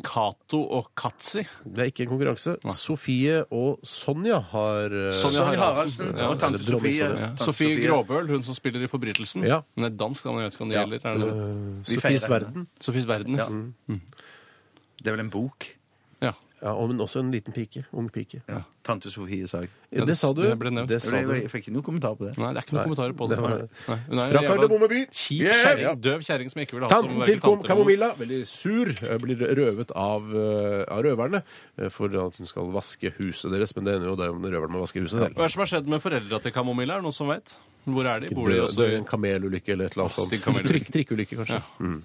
E: Cato og Katzi.
C: Det er ikke en konkurranse. Sofie og Sonja har eh,
D: Sonja
E: Sonja Haraldsen.
D: Haraldsen
E: Ja,
D: og tante
C: altså, dronning
D: Sofie.
C: Sonja.
E: Ja.
D: Tante
E: Sofie Gråbøl, hun som spiller i Forbrytelsen.
C: Ja.
E: Hun er dansk, da, men jeg vet ikke om det
B: Ja.
E: gjelder. Er det det?
B: Vi
C: Sofies
B: feirer
C: verden.
E: Sofies verden.
D: Ja.
E: Ja.
D: Det er vel en bok?
C: Ja, og- men også en liten pike. Ung pike.
D: Tante Sofie sa jeg.
C: Eh, Det sa du.
E: det ble nevnt.
C: Det
D: Jeg
C: sa
D: ble-
C: du.
D: Jeg fikk ikke noen kommentar på det.
E: Nei, det er ikke noen kommentarer på det.
C: det var-
E: Nei. Hun er
C: Fra
E: en jævla
C: Kardemomme by.
E: Kjip
C: Yeah! Ja.
E: kjerring. Døv kjerring som jeg ikke ville hatt som
C: Tanten til
E: verken
C: kom-
E: tante eller mor.
C: Kamomilla, veldig sur, eh, blir røvet av, eh, av røverne eh, for at hun skal vaske huset deres. Men det ender jo det om røverne må vaske huset selv.
E: Hva er det som har skjedd med foreldra til Kamomilla? Er det noen som vet? Hvor er de? Bor de
C: Dø- altså.
E: også
C: dø i
E: i
C: en kamelulykke eller et eller annet sånt.
E: Stygg kamelulykke.
C: Trikk, trikkeulykke, kanskje. Mm.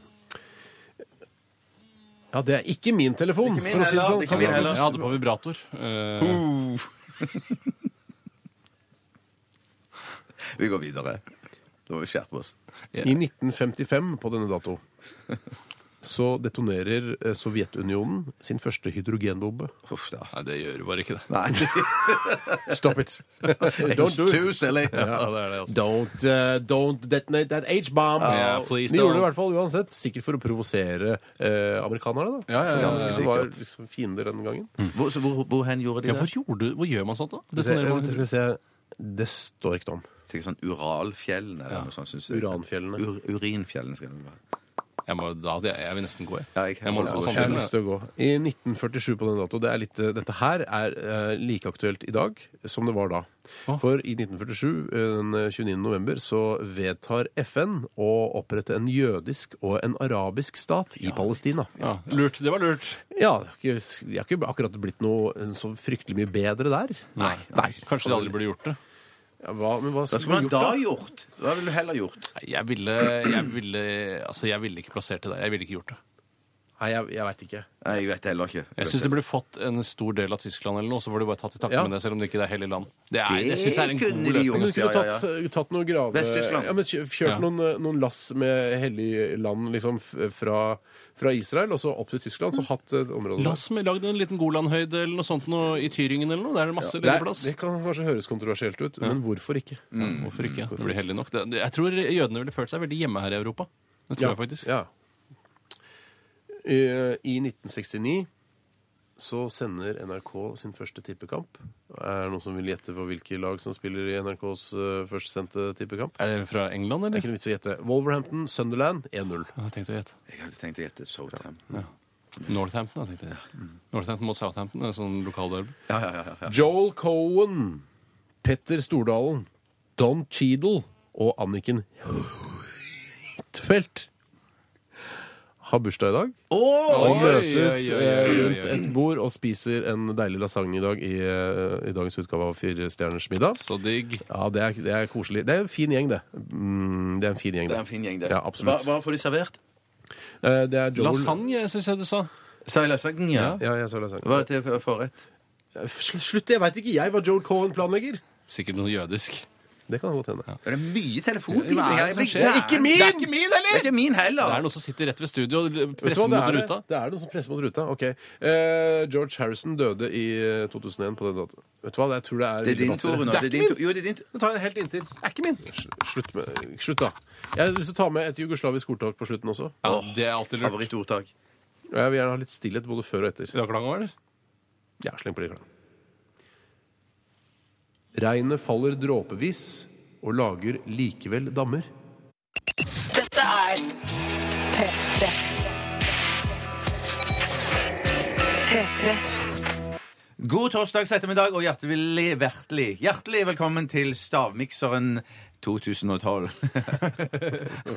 C: Ja, det er ikke min telefon,
D: min
C: for å si
D: heller,
C: det sånn.
D: det er ikke min
C: Kan-
D: heller.
E: Jeg hadde på vibrator. Eh,
C: Uh.
D: Vi går videre. Nå må vi skjerpe oss.
C: I 1955, på denne
E: *laughs*
C: dato, så detonerer eh, Sovjetunionen sin første hydrogenbombe.
D: Uff da.
E: Nei, det gjør jo bare ikke det.
D: Nei,
C: Stop
E: *laughs*
C: it! Don't do it!
D: too silly.
E: Ja, det er det, altså.
C: Don't, uh, don't detonate that H-bomb.
E: Ja, please
C: de gjorde det i
E: don't.
C: hvert fall uansett, sikkert for å provosere eh, amerikanerne. da
E: Ja, ja, ja, ja.
C: Som var liksom fiender den gangen.
D: Hvor, så hvor, hvor hen gjorde de
E: Ja,
D: det?
E: hvor, gjorde, du- hvor gjør man sånt, da?
C: Det,
E: Detonerer man-
C: skal vi se. det står ikke noe om.
D: Sikkert sånn Uralfjellene eller noe sånt. synes jeg.
C: Uranfjellene.
D: Ur, urinfjellene skal det være.
E: Jeg, må, da, hadde jeg, jeg vil nesten gå, jeg.
D: Ja, jeg kan
E: må
D: bare
E: ta
D: gå.
E: sånn
C: Jeg har
E: film,
C: lyst til å gå. I 1947 på den dato. Det er litt, eh, dette her er eh, like aktuelt i dag som det var da.
E: Hå?
C: For i 1947, eh, den eh, 29. november, så vedtar FN å opprette en jødisk og en arabisk stat i Palestina.
E: Ja, lurt. Det var lurt.
C: Ja, det har ikke- det har ikke akkurat blitt noe eh, så fryktelig mye bedre der.
E: Nei. Kanskje de aldri burde gjort det.
C: Ja, hva, men hva
D: Hva
C: skulle
D: skulle
C: man
D: man
C: gjort da?
D: da gjort? Hva ville du heller gjort?
E: Nei, Jeg ville, jeg ville, altså, jeg ville ikke plassert det der. Jeg ville ikke gjort det.
C: Nei, jeg, jeg veit ikke.
D: Nei, jeg vet heller ikke.
E: Jeg syns det burde fått en stor del av Tyskland eller noe, så får de bare tatt i takke
C: Ja.
E: med det, selv om det ikke er hellig land. Det, er, det,
D: Det
E: synes jeg er en
D: kunne
E: god
D: de
E: løsning.
D: gjort.
C: Men du kunne
D: Ja, ja, ja.
C: tatt, eh, tatt noen grave...
D: Vest-Tyskland.
C: Ja, men kjø- kjørt
E: Ja.
C: noen, eh, noen lass med hellig land liksom, f- fra, fra Israel og så opp til Tyskland, så hatt eh, et område
E: La oss lage en liten Golandhøyde eller noe sånt noe, i Tyringen eller noe. Der er det masse
C: Det,
E: ledig
C: er,
E: plass.
C: det kan kanskje høres kontroversielt ut, men hvorfor ikke?
D: Mm.
E: Hvorfor ikke? Det blir hellig nok. Det, det, jeg tror jødene ville følt seg veldig hjemme her i Europa. Det tror jeg faktisk.
C: Ja. Eh, I 1969 så sender NRK sin første tippekamp. Er det noen som vil gjette på hvilke lag som spiller i NRKs eh, førstsendte tippekamp?
E: Er det fra England,
C: Det er
E: eller?
C: ikke noe vits å gjette. Wolverhampton, Sunderland 1-0.
E: Jeg hadde tenkt å gjette.
D: Jeg hadde tenkt å gjette Southampton.
E: Northampton, hadde jeg tenkt å gjette.
C: mm.
E: Northampton mot Southampton, en sånn lokalderby.
D: Ja, ja, ja, ja.
C: Joel Cohen, Petter Stordalen, Don Cheadle og Anniken Huitfeldt har bursdag i dag. Og møtes
E: oi, oi,
C: eh,
E: oi, oi,
C: rundt
E: oi.
C: et bord og spiser en deilig lasagne i dag i, eh, i dagens utgave av Fire stjerners middag.
E: Så digg.
C: Ja, det er, det er koselig. Det er en fin gjeng, det. Mm, det er en fin gjeng,
D: Det
C: det.
D: er en fin gjeng, det.
C: Ja, absolutt.
D: Hva, hva får de servert?
C: Eh, Det er Joel
E: Lasagne, syns jeg du sa.
D: Sa jeg lasagne? Ja.
C: Ja, jeg sa lasagne. Eh,
D: Hva er til forrett?
C: Sl- Slutt, jeg veit ikke jeg hva Joel Cohen planlegger!
E: Sikkert noe jødisk.
C: Det kan godt hende.
D: Det er mye telefonpiping.
E: Hva er
D: Jeg
E: det som
D: blir
E: skjer?
D: gæren.
E: Ikke min! Det er ikke min,
D: Det
E: eller?
D: er ikke min
E: Det er
D: heller.
E: noen som sitter rett ved studio og
C: Vet du hva,
E: presser mot
C: det, er,
E: ruta.
C: det er noe som presser mot ruta. Ok. Eh, George Harrison døde i eh, 2001 på den datoen. Vet du hva, jeg tror det er
D: Det er din
C: Willy
D: Tore nå.
C: Batzer.
D: Det er din, Tore. jo, det er din Tore.
C: Nå tar jeg det helt inntil. Det er ikke min. Sl- Slutt, med, slutt da. Jeg har lyst til å ta med et jugoslavisk ordtak på slutten også.
E: Ja, det er alltid lurt.
D: Favorittordtak.
C: Og Jeg vil gjerne ha litt stillhet både før og etter.
E: Du har klang over, eller?
C: Ja, sleng på litt klang. Regnet faller dråpevis og lager likevel dammer.
A: Dette er P3. P3.
D: God torsdags ettermiddag og hjertelig, hjertelig, hjertelig velkommen til Stavmikseren 2012.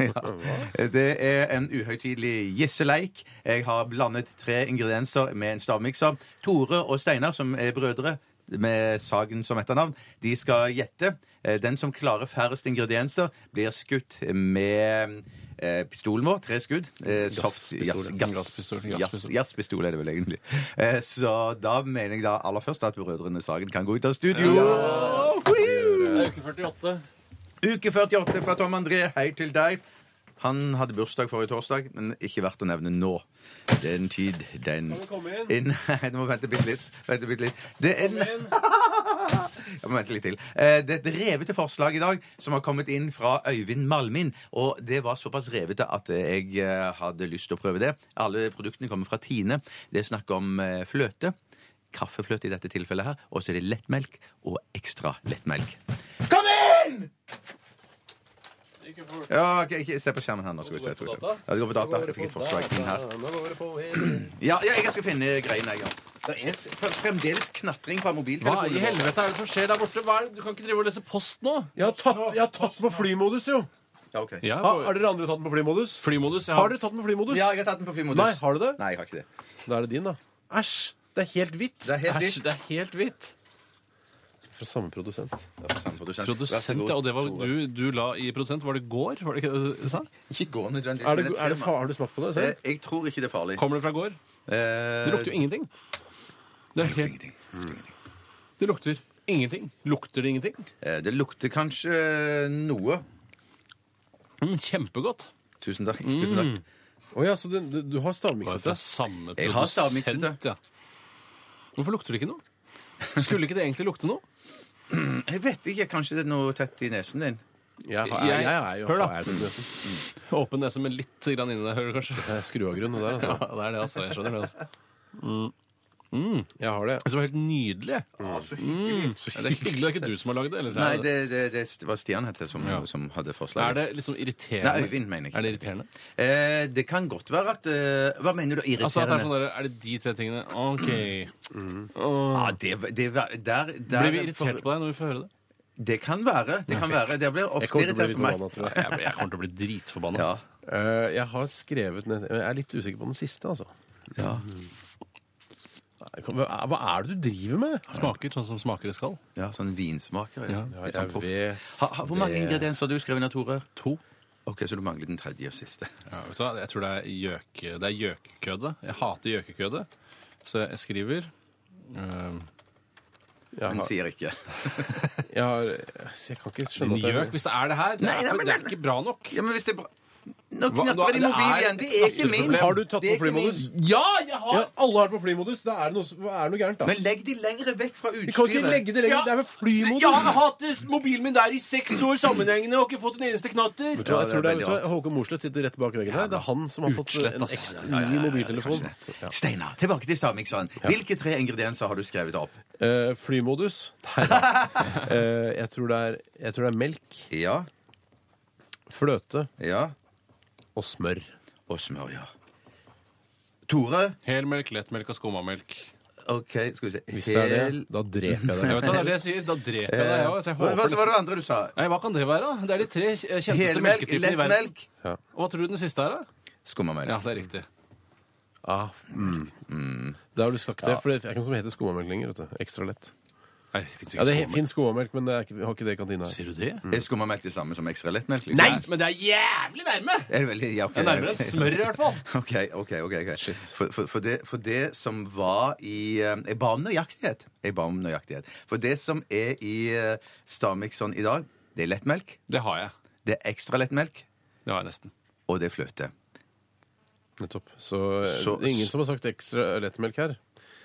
D: ja. Det er en uhøytidelig gisseleik. Jeg har blandet tre ingredienser med en stavmikser. Tore og Steinar, som er brødre med Sagen som etternavn, de skal gjette. Eh, Den som klarer færrest ingredienser, blir skutt med eh, pistolen vår. Tre skudd. Eh, soft-
E: Gasspistol.
D: gass-
E: Gasspistol,
D: gass-
E: gasspistol.
D: Jazzpistol er det vel egentlig. Eh, Så da mener jeg da aller først at Brødrene Sagen kan gå ut av studio.
E: Det er uke 48.
D: Uke 48 fra Tom André, hei til deg. Han hadde bursdag forrige torsdag, men ikke verdt å nevne nå. Den tid, den inn? *laughs* Nei, du må vente bitte litt. Vente bitte litt. Det er en... Jeg må vente litt til. Eh, Det er et revete forslag i dag som har kommet inn fra Øyvind Malmin. Og det var såpass revete at jeg eh, hadde lyst til å prøve det. Alle produktene kommer fra Tine. Det er snakk om eh, fløte. Kaffefløte i dette tilfellet her. Og så er det lettmelk og ekstra lettmelk. Kom inn! Ja, ok, ikke se på skjermen her nå. skal vi se. Skal vi se. Ja, det går på data. Jeg fikk et forslag inn her. Ja, ja jeg skal finne greiene. Jeg. ja. Det er s- fremdeles knatring fra
E: Hva
D: mobiltelefonen.
E: i helvete er det som skjer der borte? Hva er det? Du kan ikke drive og lese post nå.
C: Jeg har tatt, jeg har tatt på flymodus, jo!
D: Ja, ok.
E: Jeg
C: Ha,
E: er på
C: har dere andre tatt den på flymodus?
E: flymodus. Jeg
C: Har dere tatt den på flymodus?
D: Ja, jeg har tatt den på flymodus.
C: Nei, har du det?
D: Nei, jeg har ikke det.
C: Da er det din, da. Æsj! Det er helt hvitt.
D: Det er helt
E: Æsj,
D: vilt.
E: det er helt hvitt.
C: Fra samme produsent.
D: Det er samme produsent. Vær så
E: Produsent,
D: god,
E: ja. Og det var
D: Tore.
E: du, du la i produsent. Var det gård? Var det ikke det du sa?
D: Ikke gå nødvendigvis.
C: Er det,
D: men et
C: er det,
D: firma.
C: fa- har du smakt på det
D: Eh,
C: selv?
D: Jeg tror ikke det er farlig.
E: Kommer det fra gård?
D: Eh,
E: Det lukter jo ingenting. Det, er helt,
D: ingenting.
E: det lukter ingenting. Lukter det ingenting?
D: Eh, Det lukter kanskje eh, noe.
E: Mm, kjempegodt.
D: Tusen takk. Tusen
E: Mm.
D: takk.
C: Å ja, så den- du, du har
E: Var
C: stavmikset
E: det fra
C: det?
E: samme
D: Jeg har stavmikset
E: produsent, ja. Hvorfor lukter det ikke noe? Skulle ikke det egentlig lukte noe?
D: Jeg vet ikke. Kanskje det er noe tett i nesen din.
C: Jeg, har- jeg,
E: Jeg-
C: jeg er jo
E: Hør da.
C: har jeg den nesten.
E: Åpen nese med litt grann inni deg, hører du kanskje?
C: Det er skru av grunn, det der,
E: Ja,
C: altså.
E: det er det, altså. Jeg skjønner det. altså.
C: Jeg har det.
E: Det var helt nydelig. Mm. Ja, Det er hyggelig. Det er ikke du som har lagd det? Eller?
D: Nei,
E: er det,
D: det, det, det var Stian het det som,
E: Ja.
D: som hadde
E: er
D: forslaget.
E: det liksom irriterende?
D: Nei, Øyvind, mener jeg.
E: Er det irriterende?
D: Eh, det kan godt være at eh, Hva mener du? Irriterende?
E: Altså, at det er, sånn der, er det de tre tingene? OK.
D: ah, det, det, var- der, der,
E: sånn- Blir vi irritert på deg når vi får høre det?
D: Det kan være. Det kan være. Det blir
C: Jeg
D: ofte
C: kommer til å bli
D: irritert
C: litt
D: på meg.
C: forbanna, tror jeg.
E: Jeg, jeg kommer til å bli dritforbanna.
D: Ja.
C: Eh, jeg har skrevet ned Jeg er litt usikker på den siste, altså.
D: Ja.
C: Hva hva er det du driver med?
E: Smaker sånn som smakere skal.
D: ja, sånn vinsmaker. sånn
E: Ja.
C: Ja, jeg vet
D: Ha, ha, hvor mange
C: det.
D: ingredienser har du skrevet ned, Tore?
E: To.
D: Ok, Så du mangler den tredje og siste.
E: Ja, vet du hva? Jeg tror det er gjøke- det er gjøkekødde. Jeg hater gjøkekødde, så jeg skriver eh,
C: Jeg
D: Han
C: har,
D: sier
E: *laughs*
D: ikke.
C: jeg, har, altså, jeg kan ikke skjønne
E: Din
C: at
E: gjøk,
C: jeg,
E: hvis det er det her. Det,
D: Nei, nei,
E: er,
D: men-
E: det er ikke bra nok.
D: Ja, men hvis det er bra Nå
E: Hva- nå-
D: knapper de
E: det
D: mobil
E: er
D: igjen. Det er
E: et
D: ikke min.
E: knappeproblem.
C: Har du tatt
D: Det er
C: på
D: ikke min.
C: flymodus?
E: Ja, jeg har
C: Ja, alle har det på flymodus. Det er det noe, hva er det noe gærent, da.
D: Men legg de lengre vekk fra utstyret.
C: Vi kan ikke legge det lenger. Det er vel flymodus.
E: hatt mobilen min der i seks år sammenhengende og ikke fått en eneste knatter.
C: Vet du hva,
D: Ja, det er
C: jeg tror det er,
D: veldig
C: vet du hva, Håkon Mosleth sitter rett bak veggen her. Det er han som har fått
E: Utslett,
C: en
E: ass.
C: ekstra ny mobiltelefon. Ja.
D: Steinar, tilbake til stavmikseren. Hvilke tre ingredienser har du skrevet opp?
C: Eh, flymodus. Nei da.
D: *laughs*
C: Eh, jeg, tror det er, jeg tror det er melk,
D: Ja,
C: fløte
D: ja
C: og smør.
D: og smør, ja. Tore?
E: Helmelk, lettmelk og skummamelk.
D: OK, skal vi se
C: Hvis det er det, da dreper
D: *laughs*
C: jeg
E: Jeg
C: deg.
E: vet hva det er det jeg sier. Da dreper jeg deg. Ja. Så jeg
D: Eh, Hva,
E: håper
D: hva var
E: nesten-
D: det andre du sa?
E: Nei, hva kan det være? da? Det er de tre kj- kjenteste
D: Helmelk,
E: melketypene i verden.
D: lettmelk,
E: Og Hva tror du den siste er, da?
D: skummamelk.
E: Ja, det er riktig.
C: Ah, mm. Da har du sagt det. For det er ikke noe som heter skummamelk lenger. vet du. Ekstra lett.
E: Nei, det finnes
C: Ja,
E: ikke Mm.
C: Det
E: skummelk.
C: fins skummamelk, men det er ikke, vi har ikke det i kantina. her.
E: Sier du det?
D: Er skummamelk det samme som ekstra lettmelk? liksom?
E: Nei, men det er jævlig nærme!
D: Er det veldig, ja, ok,
E: Det er nærmere enn
D: ok.
E: smør, i hvert fall.
D: *laughs* Ok, ok, ok. ok. For, for, for, det, for det som var i eh, Jeg ba om nøyaktighet. Jeg ba om nøyaktighet. For det som er i eh, Stamikson i dag Det er lettmelk,
E: Det har jeg.
D: det er ekstra lettmelk,
E: Det har jeg nesten.
D: og det er fløte.
C: Nettopp. Så, eh,
D: Så-
C: det er ingen som har sagt ekstra lettmelk her.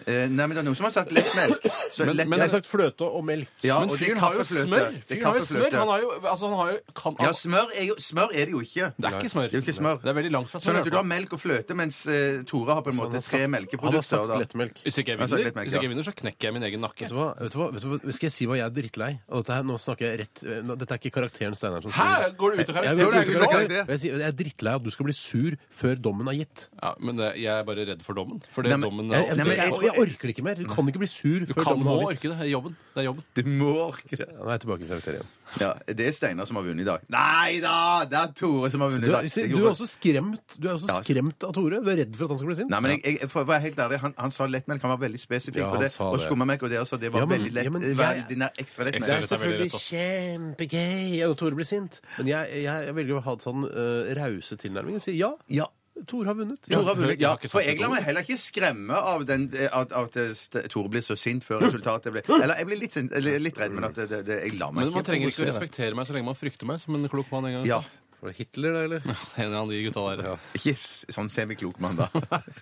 D: Eh, nei, men det er noen som har sagt lettmelk. Så
E: Men-
D: lett-
E: men- altså,
C: Jeg har sagt fløte og melk.
D: ja,
E: Men
D: og det er
E: fyren har jo
D: kaffefløte.
E: smør!
D: Det er
E: Fyren har jo smør.
D: kaffefløte.
E: Han har jo, altså, han har jo kan,
D: Ja, smør er, jo, smør er det jo ikke.
E: Det er ikke smør.
D: Det er jo ikke smør.
E: Det er veldig langt fra smør.
D: Sånn
E: i
D: at
E: hvert
D: du har
E: fall.
D: melk og fløte, mens eh, Tore har på en
C: Sånn,
D: måte
C: Han har
D: tre
C: sagt- Han har
D: melkeprodukter.
C: sagt
D: da.
C: lettmelk.
E: Hvis ikke
D: Altså,
E: jeg vinner,
D: litt melk,
E: hvis ikke
D: ja.
E: jeg vinner, så knekker jeg min egen nakke.
C: Vet du hva? Vet du hva? Vet du hva? Skal jeg si hva jeg er drittlei? Og dette her, nå snakker jeg rett eh, nå- Dette er ikke karakteren Steinar som sier
E: Hæ? Går du ut og
C: Jeg,
E: karakterer?
C: vil-
D: det er ikke lov.
C: jeg, vil si- jeg er drittlei av at du skal bli sur før dommen er gitt.
E: Ja, men eh, jeg er bare redd for dommen. For det
D: Nei, men-
E: dommen
C: Jeg, jeg,
D: Nei, men
C: jeg,
D: jeg-
C: jeg, orker det ikke mer. Du kan ikke bli sur
E: Du
C: før
E: kan
C: dommen
E: må
C: er avgitt.
E: orke det. Det er jobben. Det er jobben.
D: Det må *laughs* orke det.
C: Ja, Nå er jeg tilbake i karakter igjen.
D: Ja, det er Steinar som har vunnet i dag. Nei da! Det er Tore som har vunnet
C: Du,
D: i
C: er-
D: dag.
C: se,
D: Jeg
C: du er
D: gjorde-
C: også skremt Du er også
D: Ja. altså-
C: skremt av Tore. Du er redd for at han skal bli sint.
D: Nei, men jeg, jeg, for å være helt ærlig, han, han sa lettmelk. Han var veldig spesifikk
C: Ja,
D: på
C: han
D: det.
C: sa
D: Og
C: det.
D: skummamelk og dere sa det var
C: Ja, men-
D: veldig lett.
C: ja, men
D: eh,
C: jeg-
D: den er ekstra lettmelk.
C: Det
E: Ekstra
C: er
E: Dette er veldig
C: selvfølgelig
E: rett, ass.
C: kjempegøy at Tore blir sint. Men jeg, jeg velger å ha en sånn eh, rause tilnærming og si ja,
D: Ja.
C: Tore har vunnet.
D: Tore har vunnet.
E: Jeg
D: Ja,
E: har ikke sagt
D: for jeg
E: et
D: lar
E: ord.
D: meg heller ikke skremme av den, eh, at, at eh, St- Tore blir så sint før resultatet blir Eller jeg blir litt, sint, eller litt redd, men at det, det, det, jeg lar meg
E: Men man trenger ikke å
D: provosere.
E: respektere altså. meg så lenge man frykter meg, som en klok mann en gang
D: Ja.
E: sa.
C: Var det Hitler, da, eller?
E: *laughs* En av de gutta der.
D: Ikke s- sånn semiklok mann,
C: *laughs*
D: da.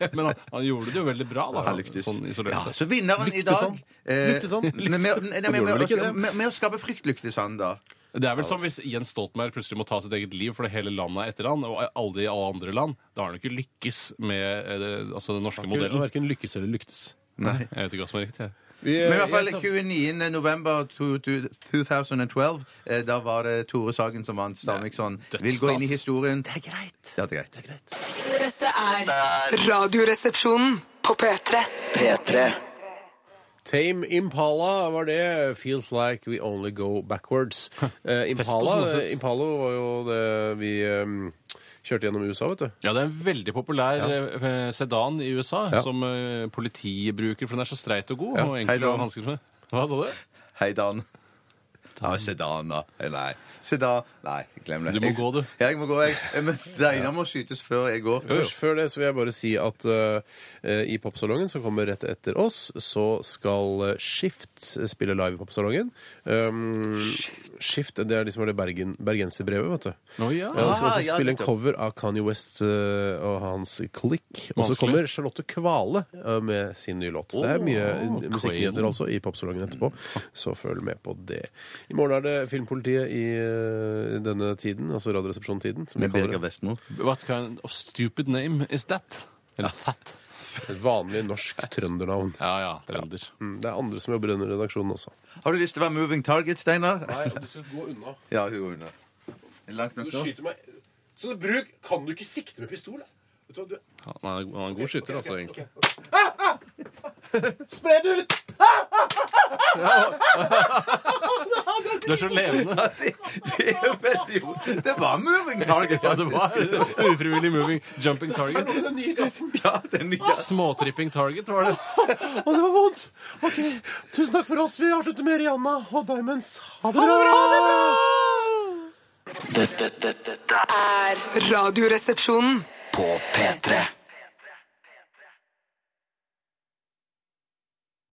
E: *laughs* Men han, han gjorde det jo veldig bra, da.
D: Ja, lyktes.
E: Sånn
D: Ja,
E: isolert sett.
D: så vinneren i dag
C: Lyktesand.
D: eh,
C: Lyktesand.
D: Med, med, nei, med,
C: gjorde vel ikke
D: med,
C: det?
D: med, med å skape frykt lyktes han, da.
E: Det er vel som hvis Jens Stoltenberg plutselig må ta sitt eget liv fordi hele landet er etter han, og alle de alle andre land. Da har han ikke lykkes med eh, det, altså, den norske modellen.
C: Verken lykkes eller lyktes.
D: Nei.
E: Jeg vet ikke hva som er riktig. jeg.
D: Men
C: Eh,
D: i hvert fall 29. november to- to- 2012, eh, da var det Tore Sagen som vant Stavmiksson.
E: Nei,
D: Vil gå inn i
E: dødstas.
D: historien.
A: Det er greit.
D: Ja, det er greit.
A: Dette er Radioresepsjonen på P3.
B: P3.
C: Tame Impala var det. Feels like we only go backwards. Eh, Impala, Impala var jo det vi eh, kjørte gjennom USA, vet du.
E: Ja, det er en veldig populær eh, sedan i USA
C: Ja.
E: som eh, politiet bruker, for den er så streit og god.
C: Ja.
E: Og
D: Hei,
E: enkel
D: Dan.
E: å hanskes med. Hva sa du?
D: Hei, Dan. Ja, Sedan, da. Eh, Nei. Sedan Nei, glem det.
E: Du må
D: Jeg-
E: gå, du.
D: Ja, jeg må gå, jeg. Men Steinar må skytes før jeg går.
C: Først før det så vil jeg bare si at eh, i popsalongen som kommer rett etter oss, så skal eh, Skift spille live i popsalongen. Um, Skift, det er de som har det Bergen, bergenserbrevet, vet du.
E: Å, ja.
C: Ja, de skal
D: Ah,
C: også
D: ja,
C: spille en
D: nettopp.
C: cover av Kanye West eh, og hans Click. Og så
E: Vanskelig.
C: kommer Charlotte Kvale eh, med sin nye låt. Det er mye
E: Åh,
C: musikknyheter
E: Queen.
C: altså i popsalongen etterpå, så følg med på det. I morgen er det Filmpolitiet i eh, denne tiden, altså Radioresepsjonen-tiden, som vi
D: Med
C: kaller
D: Birger
C: det.
D: Vestmo.
E: What kind of stupid name is that? Eller that?
C: Et vanlig norsk trøndernavn.
E: Ja, ja, trønder.
C: Mm, Det er andre som jobber under redaksjonen også.
D: Har du lyst til å være moving target, Steinar?
C: Nei, du skal gå unna.
D: Ja, hun går unna. Langt nok nå? *laughs*
C: meg Så bruk Kan du ikke sikte med pistol? Vet du hva du
E: Han er, han er en god skytter, altså, egentlig.
C: Ah, *laughs* Spre det ut!
E: Du er så levende.
D: Det er veldig Det var moving target,
E: Ja, det var
D: faktisk.
E: ufrivillig moving jumping target.
C: Den nye gassen.
D: Ja, den nye.
E: Småtripping target, var det.
C: Å, det var vondt. Ok, tusen takk for oss. Vi avslutter med Rihanna og Diamonds. Ha det bra!
B: Dette, dette, dette
A: Er Radioresepsjonen
B: på P3.